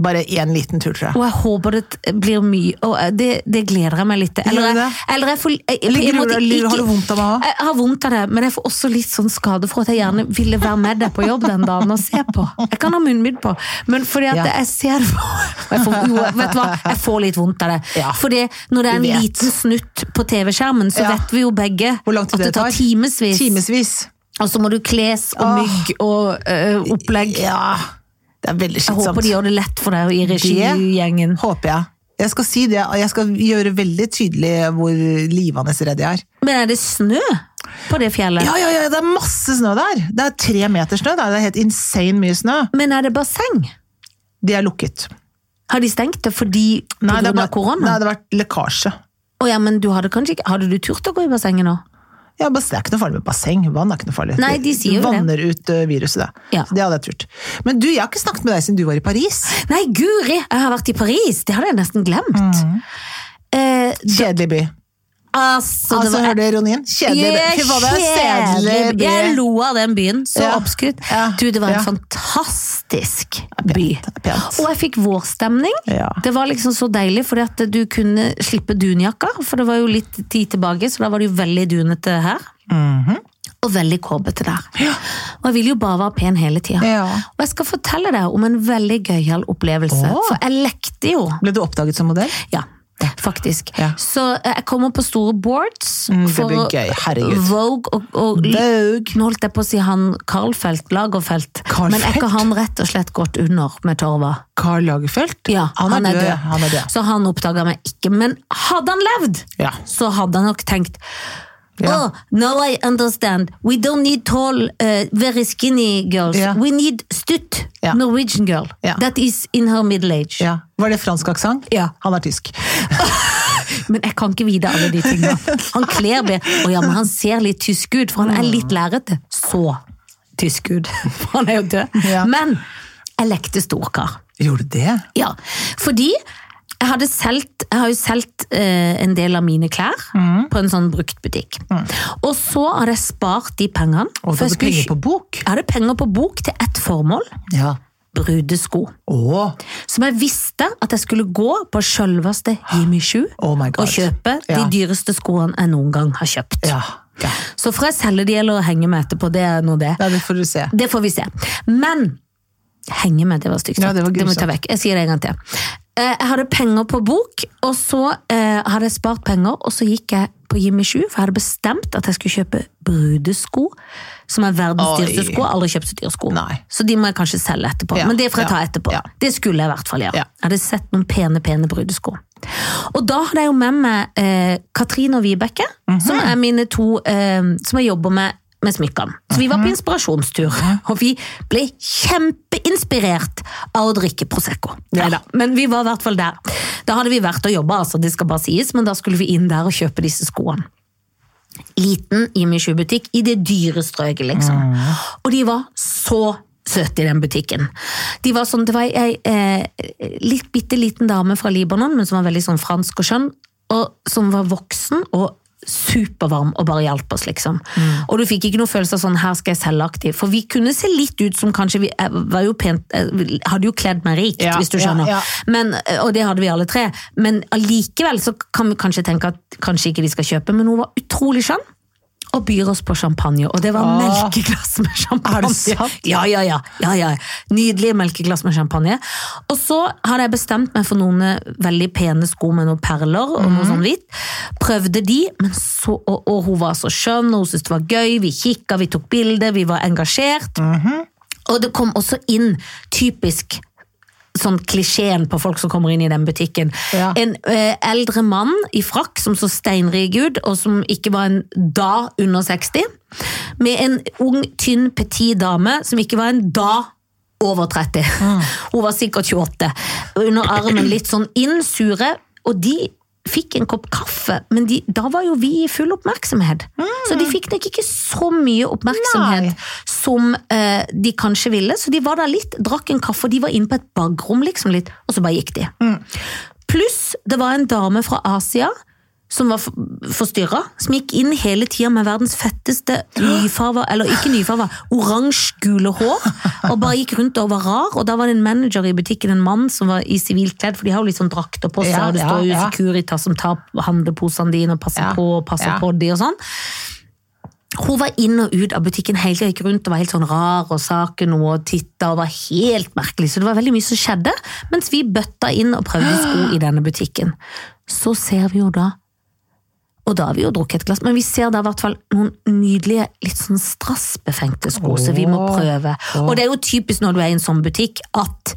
Speaker 1: Bare én liten tur, tror jeg.
Speaker 2: Og jeg håper det blir mye, og eh, det, det gleder jeg meg litt til.
Speaker 1: Gjør
Speaker 2: Eller,
Speaker 1: du
Speaker 2: jeg- eller jeg får jeg, jeg,
Speaker 1: Eller
Speaker 2: jeg,
Speaker 1: gruer
Speaker 2: måtte
Speaker 1: du deg?
Speaker 2: ikke-
Speaker 1: Har du vondt av meg også?
Speaker 2: Jeg har vondt av det, men jeg får også litt sånn skade for at jeg gjerne ville være med deg på jobb den dagen og se på. Jeg kan ha munnbind på, men fordi at
Speaker 1: Ja.
Speaker 2: jeg ser det på og jeg får, Jo, vet du hva, jeg får litt vondt av det.
Speaker 1: Ja.
Speaker 2: Fordi når det er
Speaker 1: Vi
Speaker 2: en
Speaker 1: vet.
Speaker 2: liten snutt på TV-skjermen, så
Speaker 1: Ja.
Speaker 2: vet vi jo begge
Speaker 1: Hvor lang tid
Speaker 2: at
Speaker 1: det
Speaker 2: det
Speaker 1: tar?
Speaker 2: tar timevis.
Speaker 1: Timevis.
Speaker 2: Og så må du kles og
Speaker 1: Åh.
Speaker 2: mygg og ø, opplegg.
Speaker 1: Ja. Det er veldig
Speaker 2: Jeg håper de
Speaker 1: slitsomt.
Speaker 2: gjør det lett for deg i regigjengen.
Speaker 1: Håper jeg. Jeg skal si det, og jeg skal gjøre veldig tydelig hvor livende redd jeg er.
Speaker 2: Men er det snø på det fjellet?
Speaker 1: Ja, ja, ja, det er masse snø der! Det er tre meter snø der, det er helt insane mye snø.
Speaker 2: Men er det basseng?
Speaker 1: De er lukket.
Speaker 2: Har de stengt det fordi på
Speaker 1: det,
Speaker 2: grunn
Speaker 1: er
Speaker 2: av
Speaker 1: bare-
Speaker 2: korona?
Speaker 1: nei, det har vært lekkasje.
Speaker 2: Å ja, men du hadde kanskje ikke Hadde du turt å gå i bassenget nå?
Speaker 1: Ja, bas- Det er ikke noe farlig med basseng. Vann er ikke noe farlig.
Speaker 2: Nei, de sier jo det.
Speaker 1: Vanner ut eh, viruset, det.
Speaker 2: Ja.
Speaker 1: Så Det hadde jeg turt. Men du, jeg har ikke snakket med deg siden du var i Paris.
Speaker 2: Nei, guri! Jeg har vært i Paris! Det hadde jeg nesten glemt.
Speaker 1: Mm.
Speaker 2: Eh,
Speaker 1: Kjedelig by.
Speaker 2: altså, det
Speaker 1: Altså,
Speaker 2: var
Speaker 1: Hører du ironien? Kjedelig by.
Speaker 2: Yeah,
Speaker 1: Fy faen, det er en
Speaker 2: kjedelig.
Speaker 1: kjedelig by.
Speaker 2: Jeg lo av den byen. Så
Speaker 1: Ja.
Speaker 2: oppskrytt.
Speaker 1: Ja.
Speaker 2: Du, det var en
Speaker 1: Ja.
Speaker 2: fantastisk by.
Speaker 1: er pent.
Speaker 2: Og jeg fikk vårstemning.
Speaker 1: Ja.
Speaker 2: Det var liksom så deilig, fordi at du kunne slippe dunjakka. For det var jo litt tid tilbake, så da var det jo veldig dunete her.
Speaker 1: Mhm.
Speaker 2: Og veldig kårbete der. Og jeg vil jo bare være pen hele tida.
Speaker 1: Ja.
Speaker 2: Og jeg skal fortelle deg om en veldig gøyal opplevelse.
Speaker 1: Åh.
Speaker 2: For jeg lekte jo.
Speaker 1: Ble du oppdaget som modell?
Speaker 2: Ja, faktisk.
Speaker 1: Ja. Mm,
Speaker 2: Så eh, jeg kommer på store boards
Speaker 1: det blir
Speaker 2: å-
Speaker 1: gøy, herregud.
Speaker 2: Vogue og, og
Speaker 1: Vogue.
Speaker 2: Nå holdt jeg på å si han Carlfeldt, Lagerfeldt.
Speaker 1: Carl
Speaker 2: Men er ikke
Speaker 1: Feldt?
Speaker 2: han rett og slett gått under med Torva?
Speaker 1: Carl Lagerfeldt?
Speaker 2: Ja,
Speaker 1: han, er død. Han er død.
Speaker 2: Så han oppdaga meg ikke. Men hadde han levd,
Speaker 1: Ja.
Speaker 2: så hadde han nok tenkt
Speaker 1: Ja.
Speaker 2: Oh, now I understand. We don't need tall, eh, very skinny girls.
Speaker 1: Ja.
Speaker 2: We need stutt,
Speaker 1: Ja.
Speaker 2: Norwegian girl.
Speaker 1: Ja.
Speaker 2: That is in her middle age.
Speaker 1: Ja. Var det fransk aksent?
Speaker 2: Ja.
Speaker 1: Han er tysk.
Speaker 2: Men jeg kan ikke vite alle de tingene. Han kler det, og ja, men han ser litt tysk ut, for han er litt lærete. Så tysk ut, for han er jo død.
Speaker 1: Ja.
Speaker 2: Men jeg lekte storkar.
Speaker 1: Gjorde du det?
Speaker 2: Ja, fordi jeg, hadde solgt- jeg har jo solgt eh, en del av mine klær
Speaker 1: Mm.
Speaker 2: på en sånn bruktbutikk. Og så hadde jeg spart de pengene.
Speaker 1: Og du
Speaker 2: for jeg
Speaker 1: hadde
Speaker 2: skulle
Speaker 1: penger
Speaker 2: ikke-
Speaker 1: på bok?
Speaker 2: Jeg hadde penger på bok til ett formål.
Speaker 1: Ja.
Speaker 2: Brudesko.
Speaker 1: Å,
Speaker 2: Som jeg visste at jeg skulle gå på selveste Jimmy Choo
Speaker 1: Oh my God.
Speaker 2: og kjøpe de
Speaker 1: Ja.
Speaker 2: dyreste skoene jeg noen gang har kjøpt.
Speaker 1: ja. ja.
Speaker 2: Så får jeg selge de eller henge med etterpå, det er nå det.
Speaker 1: Nei, det får du se.
Speaker 2: Det får vi se. Men henge med, det var stygt.
Speaker 1: Ja, det var
Speaker 2: må jeg ta vekk. Jeg sier det en gang til. Eh, Jeg hadde penger på bok, og så eh, hadde jeg spart penger, og så gikk jeg på Jimmy Choo, for jeg hadde bestemt at jeg skulle kjøpe brudesko, som er verdens
Speaker 1: Oi.
Speaker 2: dyreste sko. Jeg har Aldri kjøpt så dyre sko.
Speaker 1: Nei.
Speaker 2: Så de må jeg kanskje selge etterpå.
Speaker 1: Ja,
Speaker 2: Men det får jeg
Speaker 1: ja,
Speaker 2: ta etterpå.
Speaker 1: ja.
Speaker 2: Det skulle jeg i hvert fall gjøre.
Speaker 1: Ja.
Speaker 2: Jeg hadde sett noen pene, pene brudesko. Og da hadde jeg jo med meg eh, Katrine og Vibeke,
Speaker 1: Mhm.
Speaker 2: som er mine to eh, som jeg jobber med med smykkene. Så vi var
Speaker 1: Mhm.
Speaker 2: på inspirasjonstur, og vi ble kjempeinspirert av å drikke Prosecco. Neida, men vi var i hvert fall der. Da hadde vi vært og jobba, altså, det skal bare sies, men da skulle vi inn der og kjøpe disse skoene
Speaker 1: Mm.
Speaker 2: liten Jimmy Choo-butikk i det dyre strøket, liksom. Og de var så søt i den butikken. De var sånn, det var ei eh, litt, bitte liten dame fra Libanon, men som var veldig sånn fransk og skjønn, og som var voksen og supervarm og bare hjalp oss, liksom.
Speaker 1: Mm.
Speaker 2: Og du fikk ikke noen følelse av sånn 'her skal jeg selge aktiv', for vi kunne se litt ut som kanskje vi eh, var jo pent, eh, hadde jo kledd meg rikt,
Speaker 1: Ja,
Speaker 2: hvis du
Speaker 1: ja,
Speaker 2: skjønner.
Speaker 1: ja.
Speaker 2: Men, og det hadde vi alle tre. Men allikevel så kan vi kanskje tenke at kanskje ikke de skal kjøpe, men hun var utrolig skjønn. Og byr oss på champagne. Og det var
Speaker 1: Åh.
Speaker 2: melkeglass med champagne.
Speaker 1: Er det sant?
Speaker 2: Ja, ja, ja. ja, ja. Nydelige melkeglass med champagne. Og så hadde jeg bestemt meg for noen eh, veldig pene sko med noen perler og
Speaker 1: Mhm.
Speaker 2: noe sånn hvitt. Prøvde de, men så, og, og hun var så skjønn, og hun syntes det var gøy. Vi kikka, vi tok bilder, vi var engasjert.
Speaker 1: Mhm.
Speaker 2: Og det kom også inn typisk sånn klisjeen på folk som kommer inn i den butikken.
Speaker 1: Ja.
Speaker 2: En eh, eldre mann i frakk som så steinrik ut, og som ikke var en da under 60. Med en ung, tynn, petit dame som ikke var en da over 30. Hun var sikkert 28. Under armen litt sånn inn, sure. Og de fikk en kopp kaffe, men de, da var jo vi i full oppmerksomhet. Så de fikk nok ikke så mye oppmerksomhet
Speaker 1: Nei.
Speaker 2: som eh, de kanskje ville. Så de var der litt, drakk en kaffe, og de var inne på et bakrom, liksom litt, og så bare gikk de.
Speaker 1: Mm.
Speaker 2: Pluss det var en dame fra Asia som var forstyrra, som gikk inn hele tida med verdens fetteste nyfarva, eller ikke nyfarva, oransje-gule hår, og bare gikk rundt og var rar. Og da var det en manager i butikken, en mann som var i sivilt kledd, for de har jo litt sånn drakter på seg,
Speaker 1: Ja,
Speaker 2: og det
Speaker 1: ja,
Speaker 2: står jo
Speaker 1: ja.
Speaker 2: Securitas som tar handleposene dine og passer
Speaker 1: Ja,
Speaker 2: på og passer
Speaker 1: ja.
Speaker 2: på de og sånn. Hun var inn og ut av butikken hele tiden, gikk rundt og var helt sånn rar og sa ikke noe og titta og var helt merkelig. Så det var veldig mye som skjedde, mens vi bøtta inn og prøvde sko i denne butikken. Så ser vi jo da og da har vi jo drukket et glass, men vi ser da i hvert fall noen nydelige, litt sånn strassbefengte sko, så vi må
Speaker 1: Åh.
Speaker 2: prøve. Og det er jo typisk når du er i en sånn butikk, at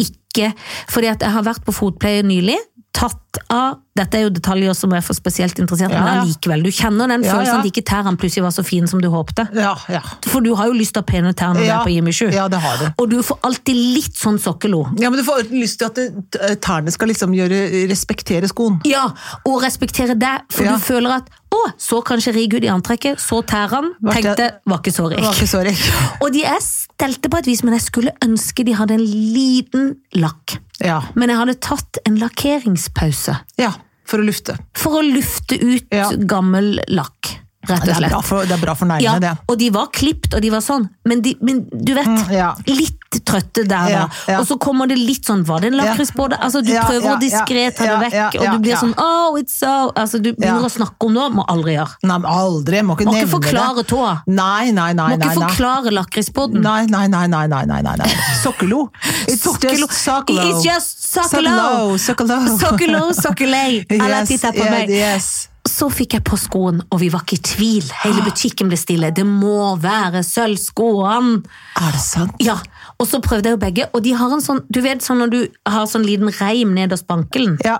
Speaker 2: ikke Fordi at jeg har vært på Fotpleie nylig, tatt av Dette er jo detaljer som er for spesielt interessert,
Speaker 1: Ja, ja.
Speaker 2: men allikevel. Du kjenner den
Speaker 1: Ja,
Speaker 2: følelsen
Speaker 1: ja.
Speaker 2: at ikke tærne plutselig var så fine som du håpte.
Speaker 1: Ja, ja.
Speaker 2: For du har jo lyst til å ha pene tær når du
Speaker 1: Ja.
Speaker 2: er på Jimmy 7.
Speaker 1: Ja, det har du.
Speaker 2: Og du får alltid litt sånn sokkelo.
Speaker 1: Ja, men du får lyst til at eh, tærne skal liksom gjøre, respektere skoen.
Speaker 2: Ja, og respektere deg, for
Speaker 1: Ja.
Speaker 2: du føler at å, så kanskje rig ut i antrekket, så tær han,
Speaker 1: Var ikke-
Speaker 2: tenkte, var ikke så
Speaker 1: Det var
Speaker 2: rik.
Speaker 1: ikke så rett.
Speaker 2: Og de er stelte på et vis, men jeg skulle ønske de hadde en liten lakk.
Speaker 1: Ja.
Speaker 2: Men jeg hadde tatt en lakkeringspause
Speaker 1: ja, for å lufte.
Speaker 2: for å lufte ut
Speaker 1: Ja.
Speaker 2: gammel lakk, rett
Speaker 1: Det
Speaker 2: og
Speaker 1: er bra
Speaker 2: slett.
Speaker 1: for, det er bra for
Speaker 2: Ja,
Speaker 1: neglene, det.
Speaker 2: og de var klippt, og de var sånn, men, de, men du vet,
Speaker 1: Mm, ja.
Speaker 2: litt trøtte der da.
Speaker 1: Ja, ja.
Speaker 2: Og så kommer det litt sånn, var det en lakris på det? Altså, du
Speaker 1: Ja,
Speaker 2: prøver
Speaker 1: ja,
Speaker 2: å diskret ta det
Speaker 1: ja,
Speaker 2: vekk,
Speaker 1: ja, ja,
Speaker 2: og du blir
Speaker 1: ja.
Speaker 2: sånn, oh, it's so, altså du begynner
Speaker 1: Ja.
Speaker 2: å snakke om det, må aldri gjøre.
Speaker 1: Nei, men aldri. Må ikke
Speaker 2: Må
Speaker 1: nevne
Speaker 2: ikke forklare
Speaker 1: det.
Speaker 2: tåa.
Speaker 1: Nei, nei, nei.
Speaker 2: Må
Speaker 1: nei,
Speaker 2: ikke
Speaker 1: nei.
Speaker 2: forklare lakrispodden.
Speaker 1: Nei, nei, nei, nei, nei, nei, nei, nei. Sokkelo. It's
Speaker 2: Sokkelo.
Speaker 1: just sokkelo.
Speaker 2: It's just sokkelo.
Speaker 1: Sokkelo, sokkelo.
Speaker 2: Sokkelo, sokkelei. Alle titter på
Speaker 1: yeah,
Speaker 2: meg.
Speaker 1: Yes.
Speaker 2: Så fikk jeg på skoen, og vi var ikke i tvil. Hele butikken ble stille. Det må være sølvskoene.
Speaker 1: Er det sant?
Speaker 2: Ja, og så prøvde jeg jo begge, og de har en sånn, du vet sånn når du har sånn liten reim nederst på ankelen.
Speaker 1: Ja.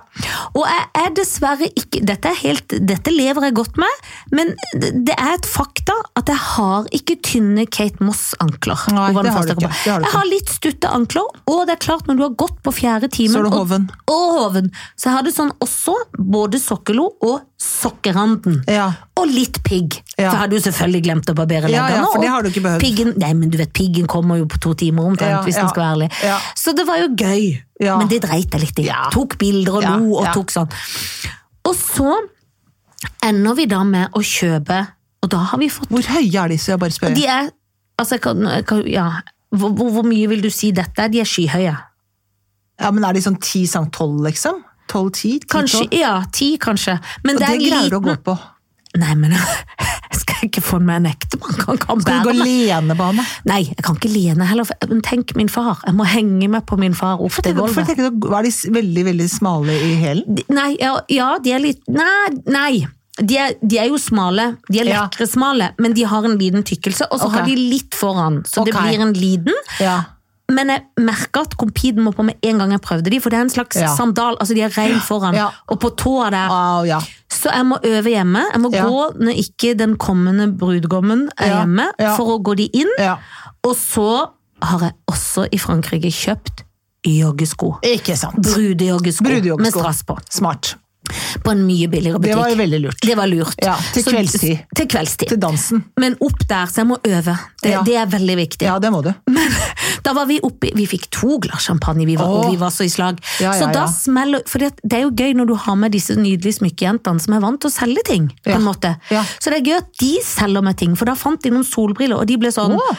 Speaker 2: Og jeg er dessverre ikke, dette, er helt, dette lever jeg godt med, men det det er et fakta at jeg har ikke tynne Kate Moss-ankler.
Speaker 1: Nei,
Speaker 2: Over den
Speaker 1: det har
Speaker 2: faste
Speaker 1: du ikke,
Speaker 2: kroppen.
Speaker 1: det har du
Speaker 2: Jeg har litt stutte ankler, og det er klart når du har gått på fjerde timen.
Speaker 1: Så er du
Speaker 2: og-
Speaker 1: hoven.
Speaker 2: Og hoven. Så jeg hadde sånn også både sokkelo og sokkeranden.
Speaker 1: Ja.
Speaker 2: Og litt pigg.
Speaker 1: Ja.
Speaker 2: For jeg hadde jo selvfølgelig glemt å barbere
Speaker 1: Ja, ja,
Speaker 2: leggene,
Speaker 1: for det
Speaker 2: og
Speaker 1: har du ikke behøvd.
Speaker 2: Piggen, nei, men du vet, piggen kommer jo på to timer omtrent,
Speaker 1: Ja,
Speaker 2: hvis
Speaker 1: ja.
Speaker 2: den skal være ærlig.
Speaker 1: Ja.
Speaker 2: Så det var jo gøy,
Speaker 1: Ja.
Speaker 2: men det dreit jeg litt i.
Speaker 1: Ja.
Speaker 2: Tok bilder og
Speaker 1: Ja,
Speaker 2: lo og
Speaker 1: ja.
Speaker 2: tok sånn. Og så ender vi da med å kjøpe, og da har vi fått
Speaker 1: Hvor høye er de, så jeg bare spør?
Speaker 2: De er Altså, jeg kan, jeg kan ja. Hvor, hvor, hvor mye vil du si dette er? De er skyhøye.
Speaker 1: Ja, men er de sånn 10 sang 12, liksom? 12-10?
Speaker 2: Kanskje, ja, ti kanskje. Men
Speaker 1: Og
Speaker 2: det
Speaker 1: det
Speaker 2: er en
Speaker 1: greier du å
Speaker 2: liten
Speaker 1: gå på.
Speaker 2: Nei, men jeg skal ikke få meg en ektemann. Han
Speaker 1: Skal
Speaker 2: kan
Speaker 1: du
Speaker 2: bære
Speaker 1: gå
Speaker 2: meg.
Speaker 1: lenebane?
Speaker 2: Nei, jeg kan ikke lene heller. for- Men tenk min far. Jeg må henge meg på min far opp til
Speaker 1: Hvorfor
Speaker 2: gulvet.
Speaker 1: tenker du, Er de s- veldig veldig smale i hælen?
Speaker 2: De- Nei, ja, ja, de er litt Nei! nei. De, er, de er jo smale. De er
Speaker 1: Ja.
Speaker 2: lekre smale, men de har en liten tykkelse. Og så
Speaker 1: Ok.
Speaker 2: har de litt foran, så det
Speaker 1: Ok.
Speaker 2: blir en liten.
Speaker 1: Ja.
Speaker 2: Men jeg merker at compeden må på med en gang jeg prøvde de, for det er en slags
Speaker 1: Ja.
Speaker 2: sandal. Altså, de er rein foran,
Speaker 1: Ja.
Speaker 2: og på tåa der
Speaker 1: Au, ja.
Speaker 2: Så jeg må øve hjemme. Jeg må
Speaker 1: Ja.
Speaker 2: gå når ikke den kommende brudgommen er
Speaker 1: Ja,
Speaker 2: hjemme,
Speaker 1: ja.
Speaker 2: for å gå de inn.
Speaker 1: ja.
Speaker 2: Og så har jeg også i Frankrike kjøpt joggesko.
Speaker 1: Ikke sant.
Speaker 2: Brudejoggesko
Speaker 1: Brudejoggesko.
Speaker 2: med strass på.
Speaker 1: Smart.
Speaker 2: på en mye billigere
Speaker 1: Det
Speaker 2: butikk.
Speaker 1: var jo veldig lurt.
Speaker 2: Det var lurt.
Speaker 1: Ja, til
Speaker 2: Så-
Speaker 1: kveldstid.
Speaker 2: Til kveldstid.
Speaker 1: Til dansen.
Speaker 2: Men opp der, så jeg må øve. Det,
Speaker 1: Ja.
Speaker 2: det er veldig viktig.
Speaker 1: Ja, det må du.
Speaker 2: Men da var vi oppe i- Vi fikk to glass champagne, vi var,
Speaker 1: Åh.
Speaker 2: og vi var så i slag.
Speaker 1: Ja, ja,
Speaker 2: så da
Speaker 1: ja.
Speaker 2: smeller For det, det er jo gøy når du har med disse nydelige smykkejentene som er vant til å selge ting, på
Speaker 1: Ja.
Speaker 2: en måte.
Speaker 1: Ja.
Speaker 2: Så det er gøy at de selger meg ting, for da fant de noen solbriller, og de ble sånn
Speaker 1: Åh.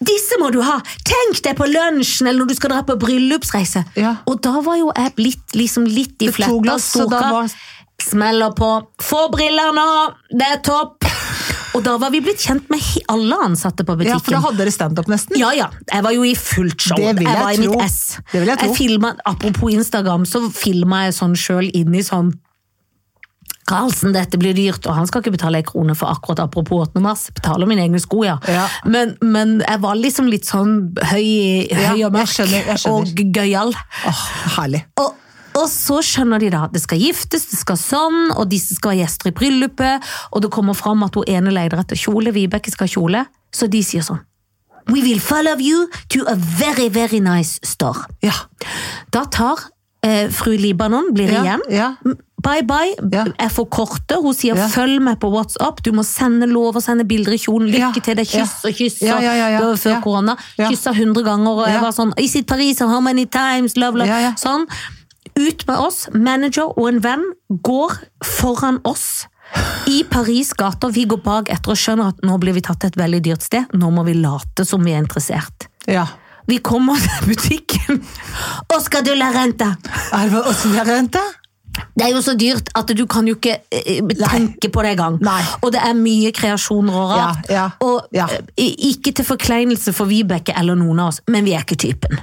Speaker 2: disse må du ha! Tenk deg på lunsjen, eller når du skal dra på bryllupsreise.
Speaker 1: Ja.
Speaker 2: Og da var jo jeg blitt liksom litt i
Speaker 1: Det
Speaker 2: fletta.
Speaker 1: to glass, så da
Speaker 2: storkar.
Speaker 1: var-
Speaker 2: Smeller på. Få briller nå! Det er topp! Og da var vi blitt kjent med he- alle ansatte på butikken.
Speaker 1: Ja, for da hadde dere standup, nesten.
Speaker 2: Ja, ja. Jeg var jo i fullt show.
Speaker 1: Det vil jeg
Speaker 2: var i
Speaker 1: tro.
Speaker 2: mitt ess.
Speaker 1: Det vil jeg tro.
Speaker 2: filmet, apropos Instagram, så filma jeg sånn sjøl inn i sånn Karlsen, dette blir dyrt, og han skal ikke betale en krone for akkurat apropos 8. mars. Jeg Betaler mine egne sko, ja.
Speaker 1: Ja.
Speaker 2: Men, men jeg var liksom litt sånn høy,
Speaker 1: Ja,
Speaker 2: høy
Speaker 1: jeg
Speaker 2: og mørk
Speaker 1: skjønner, jeg skjønner.
Speaker 2: og gøyal.
Speaker 1: Åh, herlig.
Speaker 2: Og, og så skjønner de da at det skal giftes, det skal sånn, og disse skal være gjester i bryllupet, og det kommer fram at hun ene leter etter kjole, Vibeke skal ha kjole, så de sier sånn We will follow you to a very, very nice store.
Speaker 1: Ja.
Speaker 2: Da tar eh, fru Libanon, blir
Speaker 1: Ja,
Speaker 2: igjen.
Speaker 1: ja.
Speaker 2: Bye bye,
Speaker 1: Ja.
Speaker 2: jeg får kortet. Hun sier
Speaker 1: Ja.
Speaker 2: 'følg meg på WhatsApp', du må sende lov og sende bilder i kjolen.
Speaker 1: Ja,
Speaker 2: Lykke til deg, kyss
Speaker 1: ja.
Speaker 2: og kyss.
Speaker 1: Ja, ja, ja, ja.
Speaker 2: Det var før
Speaker 1: Ja.
Speaker 2: korona.
Speaker 1: Ja.
Speaker 2: Kyssa 100 ganger, og jeg
Speaker 1: Ja.
Speaker 2: var sånn 'Is it Paris? And how many times?' Bla, bla.
Speaker 1: Ja, ja.
Speaker 2: Sånn. Ut med oss. Manager og en venn går foran oss. I Paris gater. Vi går bak etter og skjønner at nå blir vi tatt til et veldig dyrt sted. Nå må vi late som vi er interessert.
Speaker 1: ja.
Speaker 2: Vi kommer til butikken. Oscar de la Renta!
Speaker 1: Er det også der rente?
Speaker 2: Det er jo så dyrt at du kan jo ikke eh, tenke på det engang.
Speaker 1: Nei.
Speaker 2: Og det er mye kreasjoner og rart.
Speaker 1: Ja, ja,
Speaker 2: og
Speaker 1: ja.
Speaker 2: eh, i- ikke til forkleinelse for Vibeke eller noen av oss, men vi er ikke typen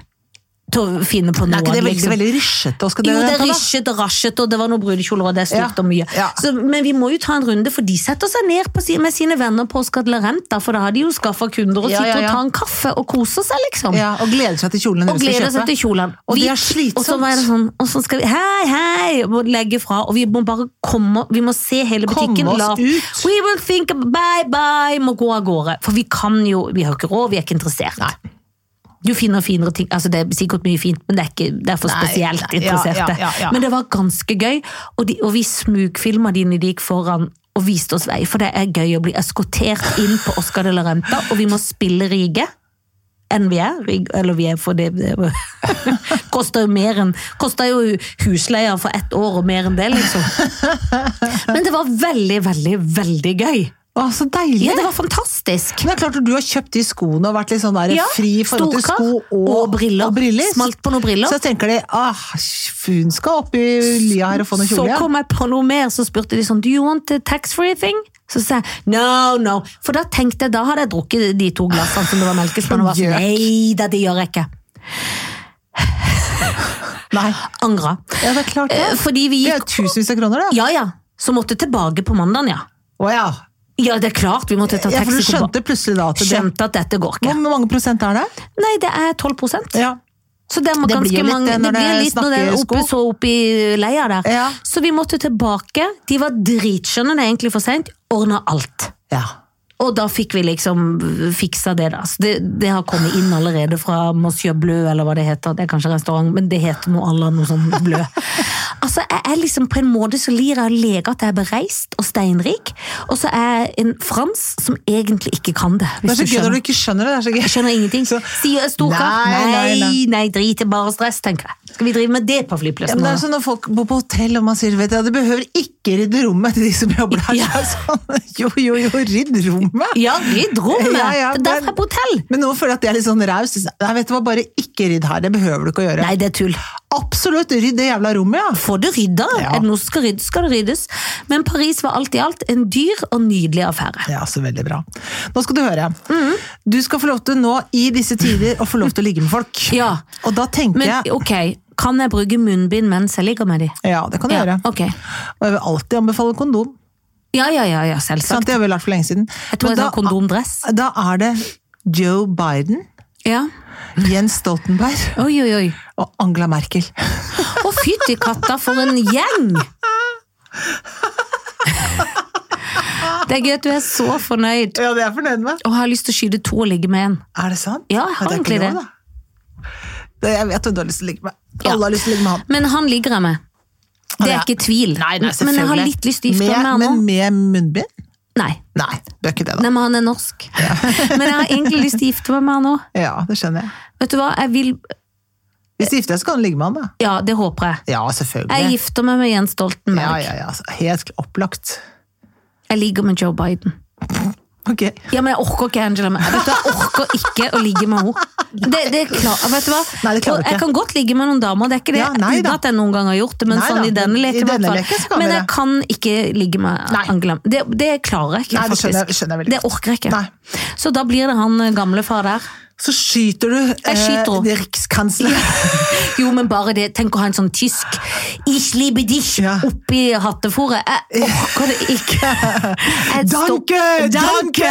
Speaker 2: til å finne på noe.
Speaker 1: Er ikke det veldig,
Speaker 2: liksom.
Speaker 1: veldig rysjete? Oscar de
Speaker 2: Jo, det er
Speaker 1: Renta, da?
Speaker 2: rysjet og rasjet, og det var noen brudekjoler, og det er
Speaker 1: Ja,
Speaker 2: stygt og mye.
Speaker 1: ja.
Speaker 2: Så, men vi må jo ta en runde, for de setter seg ned på, si- med sine venner på Oscar de la Renta, for da har de jo skaffa kunder og
Speaker 1: Ja,
Speaker 2: sitter
Speaker 1: ja, ja.
Speaker 2: og tar en kaffe og koser seg, liksom.
Speaker 1: Ja, og gleder seg til kjolen
Speaker 2: Og
Speaker 1: dere skal
Speaker 2: gleder seg til
Speaker 1: kjøpe.
Speaker 2: kjolene.
Speaker 1: Og
Speaker 2: Vi-
Speaker 1: det er slitsomt.
Speaker 2: Og så var det sånn, og så skal vi hei, hei, og må legge fra, og vi må bare komme, vi må se hele
Speaker 1: Komme
Speaker 2: butikken.
Speaker 1: oss
Speaker 2: la-
Speaker 1: ut.
Speaker 2: We will think, ab- bye bye, må gå av gårde. For vi kan jo, vi har jo ikke råd, vi er ikke interessert. Du finner finere ting, altså det er sikkert mye fint, men det er, ikke, det er for
Speaker 1: Nei,
Speaker 2: spesielt
Speaker 1: nei, ja,
Speaker 2: interesserte.
Speaker 1: ja, ja, ja.
Speaker 2: Men det var ganske gøy, og, de, og vi smugfilma de når de gikk foran og viste oss vei, for det er gøy å bli eskortert inn på Oscar de la Renta, og vi må spille rige enn vi er. Rig- Eller vi er for det det Koster jo mer enn Koster jo husleia for ett år og mer enn det, liksom. Men det var veldig, veldig, veldig gøy.
Speaker 1: Å, så deilig!
Speaker 2: Ja, det var fantastisk.
Speaker 1: Men det er klart at du har kjøpt de skoene og vært litt sånn der
Speaker 2: Ja,
Speaker 1: fri i forhold til
Speaker 2: storkar
Speaker 1: sko og,
Speaker 2: og briller.
Speaker 1: og
Speaker 2: Smalt på noen briller.
Speaker 1: Så tenker de ah, hun skal opp i lia her og få noe
Speaker 2: Så
Speaker 1: kjole igjen.
Speaker 2: kom jeg på noe mer, så spurte de sånn Do you want a tax-free thing? Så sa jeg no, no. For da tenkte jeg, da hadde jeg drukket de to glassene som det var melkespann, og var sånn
Speaker 1: Gjøk.
Speaker 2: Nei da, det gjør jeg ikke.
Speaker 1: Nei,
Speaker 2: Angra.
Speaker 1: ja, det er klart det.
Speaker 2: Eh, Fordi vi
Speaker 1: Det er
Speaker 2: gikk
Speaker 1: tusenvis av kroner, det.
Speaker 2: Ja ja. Så måtte jeg tilbake på mandagen, ja.
Speaker 1: Å ja.
Speaker 2: Ja, det er klart vi måtte ta
Speaker 1: ja, for
Speaker 2: taxi.
Speaker 1: du skjønte plutselig da at det
Speaker 2: skjønte at dette går ikke.
Speaker 1: Hvor mange prosent er det?
Speaker 2: Nei, det er 12 prosent.
Speaker 1: Ja.
Speaker 2: Så det, må
Speaker 1: Det blir
Speaker 2: ganske
Speaker 1: jo litt
Speaker 2: mange,
Speaker 1: det når
Speaker 2: det blir
Speaker 1: det
Speaker 2: litt når det er
Speaker 1: snakker
Speaker 2: oppe,
Speaker 1: sko.
Speaker 2: så oppe i leia der.
Speaker 1: Ja.
Speaker 2: Så vi måtte tilbake. De var dritskjønne, det er egentlig for sent. Ordna alt.
Speaker 1: ja.
Speaker 2: Og da fikk vi liksom fiksa det, da. Så det, det har kommet inn allerede fra Monsieur Bleu, eller hva det heter. Det er kanskje restaurant, men det heter noe à la noe sånn Bleu. Altså, jeg er liksom på en måte så lir jeg av leger at jeg er bereist og steinrik, og så er jeg en frans som egentlig ikke kan det.
Speaker 1: Det er så
Speaker 2: hvis du
Speaker 1: gøy
Speaker 2: skjønner.
Speaker 1: når du ikke skjønner det. det er så
Speaker 2: Jeg
Speaker 1: gøy.
Speaker 2: skjønner ingenting.
Speaker 1: Så-
Speaker 2: Sier jeg stor kar?
Speaker 1: Nei,
Speaker 2: Nei,
Speaker 1: nei,
Speaker 2: nei,
Speaker 1: nei.
Speaker 2: drit i bare stress, tenker jeg. Skal vi drive med det på
Speaker 1: Ja,
Speaker 2: flyplassen?
Speaker 1: men det
Speaker 2: nå,
Speaker 1: er sånn når folk bor på hotell og man sier vet du, ja, du behøver ikke rydde rommet til de som jobber der.
Speaker 2: Ja.
Speaker 1: Så er det Sånn, jo, jo, jo, rydd rommet!
Speaker 2: da? ja rydd rommet!
Speaker 1: Ja, ja,
Speaker 2: det er derfor
Speaker 1: men-
Speaker 2: jeg er på hotell!
Speaker 1: Men nå føler jeg at jeg er litt sånn raus. Nei, vet du hva, bare ikke rydd her. Det behøver du ikke å gjøre.
Speaker 2: Nei, det er tull.
Speaker 1: Absolutt, rydd det jævla rommet, ja.
Speaker 2: Få det rydda!
Speaker 1: Ja.
Speaker 2: Er det noe som skal ryddes, skal det ryddes. Men Paris var alt i alt en dyr og nydelig affære.
Speaker 1: Ja, så altså veldig bra. Nå skal du høre.
Speaker 2: Mhm.
Speaker 1: Du skal få lov til nå, i disse tider, å få lov til å ligge med folk.
Speaker 2: Ja.
Speaker 1: Og da tenker
Speaker 2: Men
Speaker 1: jeg
Speaker 2: ok, kan jeg bruke munnbind mens jeg ligger med de?
Speaker 1: Ja, det kan du
Speaker 2: Ja,
Speaker 1: gjøre.
Speaker 2: ok.
Speaker 1: Og jeg vil alltid anbefale kondom.
Speaker 2: Ja, ja, ja, ja
Speaker 1: Sant?
Speaker 2: selvsagt.
Speaker 1: Det har vi lært for lenge siden.
Speaker 2: Jeg tror
Speaker 1: Sånn. Men
Speaker 2: jeg sa kondomdress.
Speaker 1: da er det Joe Biden,
Speaker 2: Ja.
Speaker 1: Jens Stoltenberg
Speaker 2: Oi, oi, oi.
Speaker 1: og Angela Merkel.
Speaker 2: Å, fytti katta, for en gjeng! Det er gøy at du er så fornøyd
Speaker 1: Ja, det er jeg fornøyd med.
Speaker 2: og har lyst til å skyte to og ligge med én.
Speaker 1: Er det sant?
Speaker 2: Ja, jeg har
Speaker 1: det er ikke
Speaker 2: egentlig
Speaker 1: lov,
Speaker 2: det.
Speaker 1: da. Det- Jeg vet hvem du har lyst til å ligge med.
Speaker 2: Ja.
Speaker 1: Alle har lyst til å ligge med han.
Speaker 2: Men han ligger jeg med. Det er ikke tvil.
Speaker 1: Nei, nei,
Speaker 2: men jeg har
Speaker 1: selvfølgelig.
Speaker 2: litt lyst til å gifte
Speaker 1: Med-
Speaker 2: meg med han nå.
Speaker 1: Men med munnbind?
Speaker 2: Nei.
Speaker 1: Nei, du er ikke det, da.
Speaker 2: nei, men han er norsk. men jeg har egentlig lyst til å gifte meg med han nå.
Speaker 1: Ja, det skjønner jeg.
Speaker 2: Vet du hva, jeg vil
Speaker 1: Hvis du gifter deg, så kan du ligge med han, da.
Speaker 2: Ja, det håper jeg.
Speaker 1: Ja,
Speaker 2: Jeg
Speaker 1: selvfølgelig.
Speaker 2: gifter meg med Jens Stoltenberg.
Speaker 1: Ja, ja, ja. Helt opplagt.
Speaker 2: Jeg ligger med Joe Biden.
Speaker 1: Ok.
Speaker 2: Ja, men jeg orker ikke Angela Mer- Vet du, Jeg orker ikke å ligge med henne. Det, det er klar, vet du hva?
Speaker 1: Nei, det klarer du
Speaker 2: Og
Speaker 1: ikke.
Speaker 2: jeg kan godt ligge med noen damer, det er ikke det.
Speaker 1: Ja, nei
Speaker 2: uten
Speaker 1: da.
Speaker 2: at jeg noen gang har gjort det, men
Speaker 1: Nei
Speaker 2: sånn
Speaker 1: da,
Speaker 2: i denne
Speaker 1: men i
Speaker 2: leken. i
Speaker 1: denne
Speaker 2: hvert fall.
Speaker 1: leken så kan vi
Speaker 2: men jeg
Speaker 1: det.
Speaker 2: kan ikke ligge med
Speaker 1: Nei.
Speaker 2: Angela det, det klarer jeg ikke,
Speaker 1: Nei, det skjønner jeg-
Speaker 2: faktisk.
Speaker 1: skjønner jeg veldig
Speaker 2: det orker jeg ikke.
Speaker 1: Nei.
Speaker 2: Så da blir det han eh, gamle far der.
Speaker 1: Så skyter du
Speaker 2: Jeg skyter henne.
Speaker 1: eh, rikskansleren.
Speaker 2: Jo, men bare det. Tenk å ha en sånn tysk Ich liebe dich
Speaker 1: Ja.
Speaker 2: oppi hattefòret. Jeg orker det ikke. Jeg
Speaker 1: Danke,
Speaker 2: stopp-
Speaker 1: danke,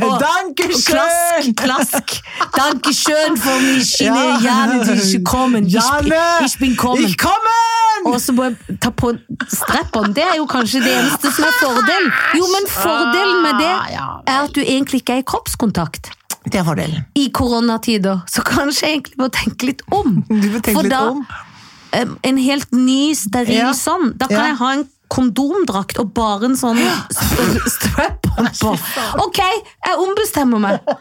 Speaker 2: Og-
Speaker 1: danke
Speaker 2: og
Speaker 1: schön.
Speaker 2: Klask, klask. Danke schön for min skille,
Speaker 1: Ja.
Speaker 2: Janne, du er ikke kommen. Ich,
Speaker 1: Janne,
Speaker 2: ich bin kommen.
Speaker 1: Ich kommen!
Speaker 2: Og så må jeg ta på strepperen. Det er jo kanskje det eneste som er fordelen. Jo, men fordelen med det
Speaker 1: Ah,
Speaker 2: er at du egentlig ikke er i kroppskontakt
Speaker 1: Det er fordelen.
Speaker 2: i koronatider. Så kanskje jeg egentlig må tenke litt om.
Speaker 1: Du må tenke
Speaker 2: For
Speaker 1: litt
Speaker 2: da,
Speaker 1: om.
Speaker 2: eh, En helt ny, steril
Speaker 1: Ja.
Speaker 2: sånn. Da kan
Speaker 1: Ja.
Speaker 2: jeg ha en kondomdrakt og bare en sånn st- strap-on på. Ok, jeg ombestemmer meg.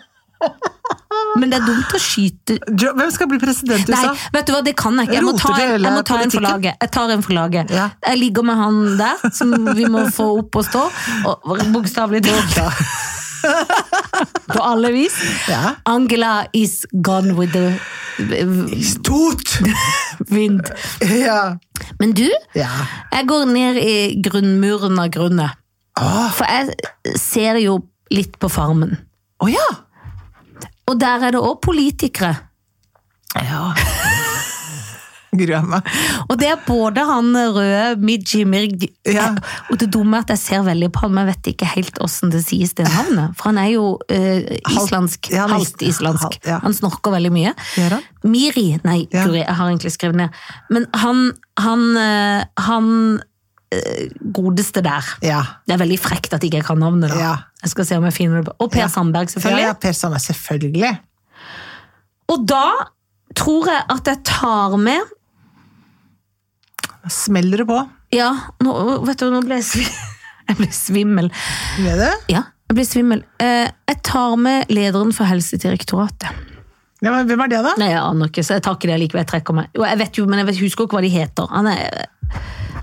Speaker 2: Men det er dumt å skyte
Speaker 1: Jo- Hvem skal bli president i
Speaker 2: Nei,
Speaker 1: USA?
Speaker 2: vet du hva, det kan jeg ikke. Jeg må
Speaker 1: Roter du
Speaker 2: ta en,
Speaker 1: hele
Speaker 2: jeg må ta en for
Speaker 1: politikken?
Speaker 2: laget. Jeg tar en for laget.
Speaker 1: Ja.
Speaker 2: Jeg ligger med han der, som vi må få opp og stå. Og bokstavelig talt. På alle vis.
Speaker 1: Ja.
Speaker 2: Angela is gone with the
Speaker 1: Tot!
Speaker 2: wind.
Speaker 1: Ja.
Speaker 2: Men du,
Speaker 1: ja.
Speaker 2: jeg går ned i grunnmuren av grunnet.
Speaker 1: Åh.
Speaker 2: For jeg ser jo litt på farmen.
Speaker 1: Å ja.
Speaker 2: Og der er det òg politikere.
Speaker 1: ja. Gruer meg.
Speaker 2: Og det er både han røde, Midji Mirg
Speaker 1: Ja.
Speaker 2: Og det dumme er at jeg ser veldig på han, men jeg vet ikke helt åssen det sies det navnet. For han er jo eh, islandsk.
Speaker 1: ja, han er
Speaker 2: halvt islandsk.
Speaker 1: halvt, ja.
Speaker 2: Han snorker veldig mye.
Speaker 1: Gjør han?
Speaker 2: Miri Nei,
Speaker 1: Ja.
Speaker 2: guri, jeg har egentlig skrevet ned. Men han Han, eh, han eh, godeste der.
Speaker 1: Ja.
Speaker 2: Det er veldig frekt at ikke jeg kan navnet, da.
Speaker 1: Ja.
Speaker 2: Jeg skal se om jeg finner det. på- Og Per
Speaker 1: Ja.
Speaker 2: Sandberg,
Speaker 1: Ja,
Speaker 2: selvfølgelig.
Speaker 1: ja, Per Sandberg, selvfølgelig.
Speaker 2: Og da tror jeg at jeg tar med
Speaker 1: Da Smeller det på?
Speaker 2: Ja, nå, vet du, nå ble jeg, svi jeg ble svimmel.
Speaker 1: Vet du?
Speaker 2: Ja, jeg blir svimmel. Eh, jeg tar med lederen for Helsedirektoratet.
Speaker 1: Ja, men hvem er det, da?
Speaker 2: Nei, jeg aner ikke, så jeg tar ikke det likevel. Jeg trekker meg. Jo, jeg vet jo, men jeg vet, husker ikke hva de heter. Han er,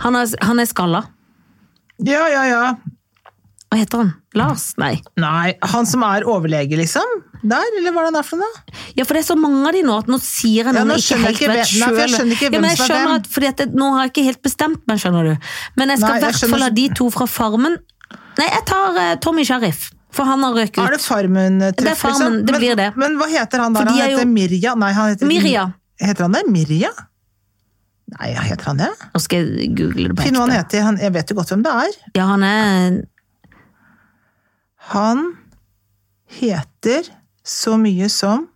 Speaker 2: han er, han er skalla.
Speaker 1: Ja, ja, ja.
Speaker 2: Hva heter han? Lars? Nei.
Speaker 1: Nei, han som er overlege, liksom? Der, eller hva er det han er for noe? da?
Speaker 2: Ja, for det er så mange av de nå at nå sier jeg
Speaker 1: Ja,
Speaker 2: noen
Speaker 1: nå
Speaker 2: jeg ikke
Speaker 1: skjønner jeg
Speaker 2: helt
Speaker 1: ikke hvem-
Speaker 2: vet
Speaker 1: nei, for jeg
Speaker 2: selv.
Speaker 1: skjønner ikke
Speaker 2: ja,
Speaker 1: hvem
Speaker 2: men jeg
Speaker 1: som er
Speaker 2: skjønner
Speaker 1: hvem.
Speaker 2: at, fordi at det, Nå har jeg ikke helt bestemt meg, skjønner du. Men jeg skal
Speaker 1: Nei,
Speaker 2: i
Speaker 1: jeg
Speaker 2: hvert fall
Speaker 1: skjønner-
Speaker 2: ha de to fra Farmen. Nei, jeg tar eh, Tommy Sheriff, for han har røket ut.
Speaker 1: Er det Farmen-treff?
Speaker 2: Det er Farmen,
Speaker 1: liksom?
Speaker 2: det
Speaker 1: men,
Speaker 2: blir det.
Speaker 1: Men hva heter han
Speaker 2: For
Speaker 1: der?
Speaker 2: de
Speaker 1: Han
Speaker 2: er jo-
Speaker 1: heter Mirja? Nei, han heter
Speaker 2: Mirja.
Speaker 1: Heter han det? Mirja? Nei, ja, heter han det?
Speaker 2: Nå skal jeg google det på
Speaker 1: Finn hva han
Speaker 2: ekte.
Speaker 1: heter. Han, jeg vet jo godt hvem det er.
Speaker 2: Ja, han er
Speaker 1: Han heter så mye som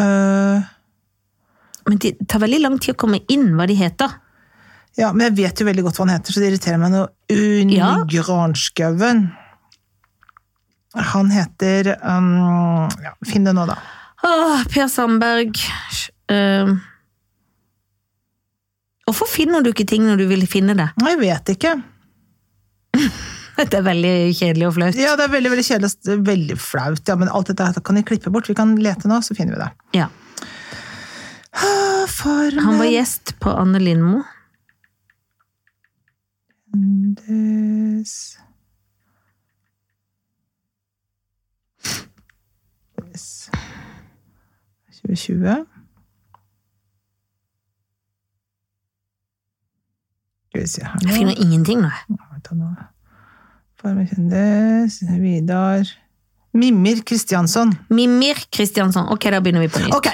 Speaker 1: øh,
Speaker 2: Men det tar veldig lang tid å komme inn hva de heter.
Speaker 1: Ja, men jeg vet jo veldig godt hva han heter, så det irriterer meg noe.
Speaker 2: Ja.
Speaker 1: Unni Granskauen. Han heter um, ja, Finn det nå, da.
Speaker 2: Åh, per Sandberg eh, Hvorfor finner du ikke ting når du vil finne det?
Speaker 1: Nei, Jeg vet ikke.
Speaker 2: Det er veldig kjedelig og flaut.
Speaker 1: Ja, det er veldig veldig kjedelig og s- veldig flaut. Ja, men alt dette her kan de klippe bort. Vi kan lete nå, så finner vi det.
Speaker 2: Ja.
Speaker 1: Ah, Farmen
Speaker 2: Han var gjest på Anne Lindmo.
Speaker 1: Des- Des- 2020. Skal vi se her nå.
Speaker 2: Jeg finner ingenting, nå.
Speaker 1: Vent da nå. Farmen kjendis, Vidar Mimmer Kristiansson.
Speaker 2: Mimir Kristiansson. Ok, da begynner vi på nytt.
Speaker 1: Ok!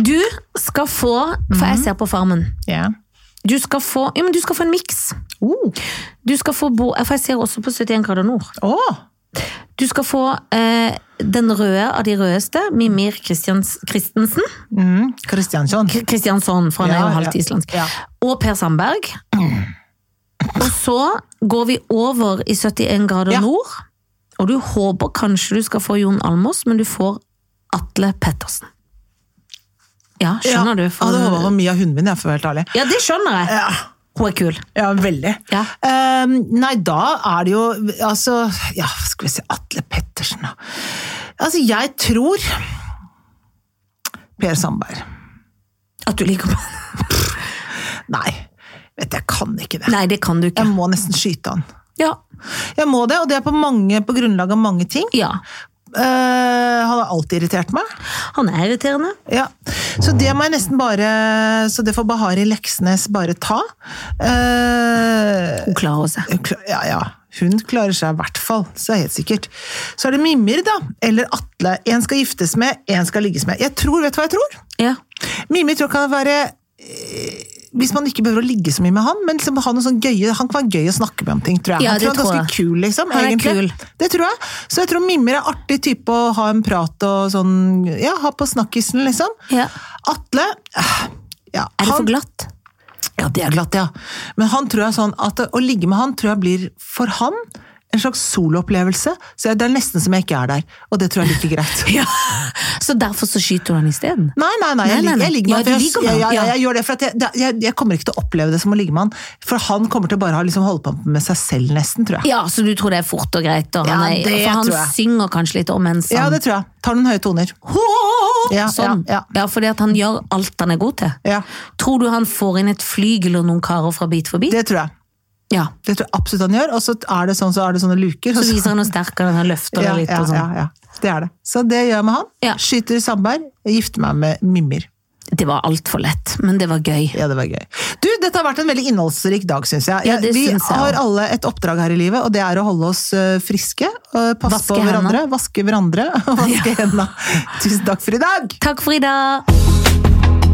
Speaker 2: Du skal få For jeg ser på Farmen.
Speaker 1: Ja.
Speaker 2: Du skal få, ja, men du skal få en miks.
Speaker 1: Oh.
Speaker 2: Du skal få bo, For jeg ser også på 71 grader nord.
Speaker 1: Åh!
Speaker 2: Du skal få eh, den røde av de rødeste, Mimir Kristians, Kristensen.
Speaker 1: Mm, Kristiansson.
Speaker 2: Kr- Kristiansson, for han er
Speaker 1: Ja,
Speaker 2: jo
Speaker 1: ja.
Speaker 2: halvt islandsk.
Speaker 1: Ja.
Speaker 2: Og Per Sandberg. Og så går vi over i 71 grader
Speaker 1: Ja.
Speaker 2: nord. Og du håper kanskje du skal få Jon Almås, men du får Atle Pettersen. Ja, skjønner du? For...
Speaker 1: Ja, det var mye av hunden min, jeg, for å være helt ærlig.
Speaker 2: Ja, det skjønner jeg!
Speaker 1: Ja.
Speaker 2: Hun er kul.
Speaker 1: Ja, veldig.
Speaker 2: Ja.
Speaker 1: Eh, nei, da er det jo Altså, ja, skal vi se Atle Pettersen, da. Altså, jeg tror Per Sandberg.
Speaker 2: At du liker henne.
Speaker 1: Nei, vet du, jeg kan ikke det.
Speaker 2: Nei, det kan du ikke.
Speaker 1: Jeg må nesten skyte han.
Speaker 2: Ja.
Speaker 1: Jeg må det, og det er på, mange, på grunnlag av mange ting.
Speaker 2: ja.
Speaker 1: Eh, han har alltid irritert meg.
Speaker 2: Han er irriterende.
Speaker 1: Ja. Så det må jeg nesten bare Så det får Bahari Leksnes bare ta. Eh,
Speaker 2: Hun klarer seg.
Speaker 1: Hun kla- Ja, ja. Hun klarer seg i hvert fall, så er det helt sikkert. Så er det Mimir, da. Eller Atle. En skal giftes med, en skal ligges med. Jeg tror, Vet du hva jeg tror?
Speaker 2: Ja.
Speaker 1: Mimir tror jeg kan være eh, Hvis man ikke behøver å ligge så mye med han, men liksom ha noe sånn gøye, han kan være gøy å snakke med om ting, tror jeg.
Speaker 2: Ja,
Speaker 1: han tror
Speaker 2: det
Speaker 1: han er
Speaker 2: tror
Speaker 1: ganske kul, liksom.
Speaker 2: Han er
Speaker 1: egentlig. Det tror jeg. Så jeg tror Mimir er artig type å ha en prat og sånn Ja, ha på snakkisen, liksom.
Speaker 2: Ja.
Speaker 1: Atle eh, ja,
Speaker 2: Er det
Speaker 1: han-
Speaker 2: for glatt?
Speaker 1: ja, det er glatt, ja. Men han tror jeg sånn at å ligge med han tror jeg blir for han en slags soloopplevelse. Så jeg- det er nesten som jeg ikke er der, og det tror jeg er like greit.
Speaker 2: Ja. Så derfor så skyter hun han isteden?
Speaker 1: Nei, nei, nei, jeg,
Speaker 2: Nei, nei,
Speaker 1: lig-
Speaker 2: nei.
Speaker 1: jeg ligger med
Speaker 2: Ja,
Speaker 1: han. for jeg-
Speaker 2: du ligger med
Speaker 1: ja, ja,
Speaker 2: han,
Speaker 1: ja,
Speaker 2: ja.
Speaker 1: jeg gjør det, for at jeg, det- jeg, jeg kommer ikke til å oppleve det som å ligge med han. For han kommer til å bare ha liksom holdt på med seg selv, nesten, tror jeg.
Speaker 2: Ja, så du tror det er fort og greit? Og han
Speaker 1: Ja,
Speaker 2: er,
Speaker 1: det
Speaker 2: for han
Speaker 1: tror jeg.
Speaker 2: synger kanskje litt om mens
Speaker 1: Ja,
Speaker 2: han
Speaker 1: det tror jeg. Tar noen høye toner. Ja,
Speaker 2: Sånn.
Speaker 1: ja,
Speaker 2: Ja, fordi at han gjør alt han er god til.
Speaker 1: Ja,
Speaker 2: Tror du han får inn et flygel og noen karer fra Bit for bit?
Speaker 1: det tror jeg.
Speaker 2: Ja.
Speaker 1: Det tror jeg absolutt han gjør. Og så er det sånn, så er det sånne luker. og
Speaker 2: Så viser han noe sterkere, han løfter
Speaker 1: ja,
Speaker 2: det litt
Speaker 1: ja,
Speaker 2: og sånn.
Speaker 1: ja, ja. Det er det. Så det gjør jeg med han.
Speaker 2: Ja.
Speaker 1: Skyter Sandberg. Gifter meg med Mimmer.
Speaker 2: Det var altfor lett, men det var gøy.
Speaker 1: Ja, det var gøy. Du, dette har vært en veldig innholdsrik dag, syns jeg.
Speaker 2: Ja, det
Speaker 1: vi
Speaker 2: synes jeg
Speaker 1: har
Speaker 2: også.
Speaker 1: alle et oppdrag her i livet, og det er å holde oss eh, friske. eh, Passe
Speaker 2: Vaske
Speaker 1: på
Speaker 2: hendene.
Speaker 1: hverandre, vaske hverandre og vaske hendene. Tusen takk for i dag!
Speaker 2: Takk for i dag!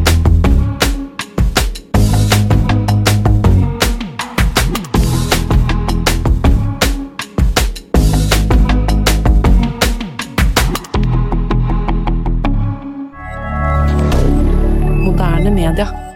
Speaker 3: Moderne media.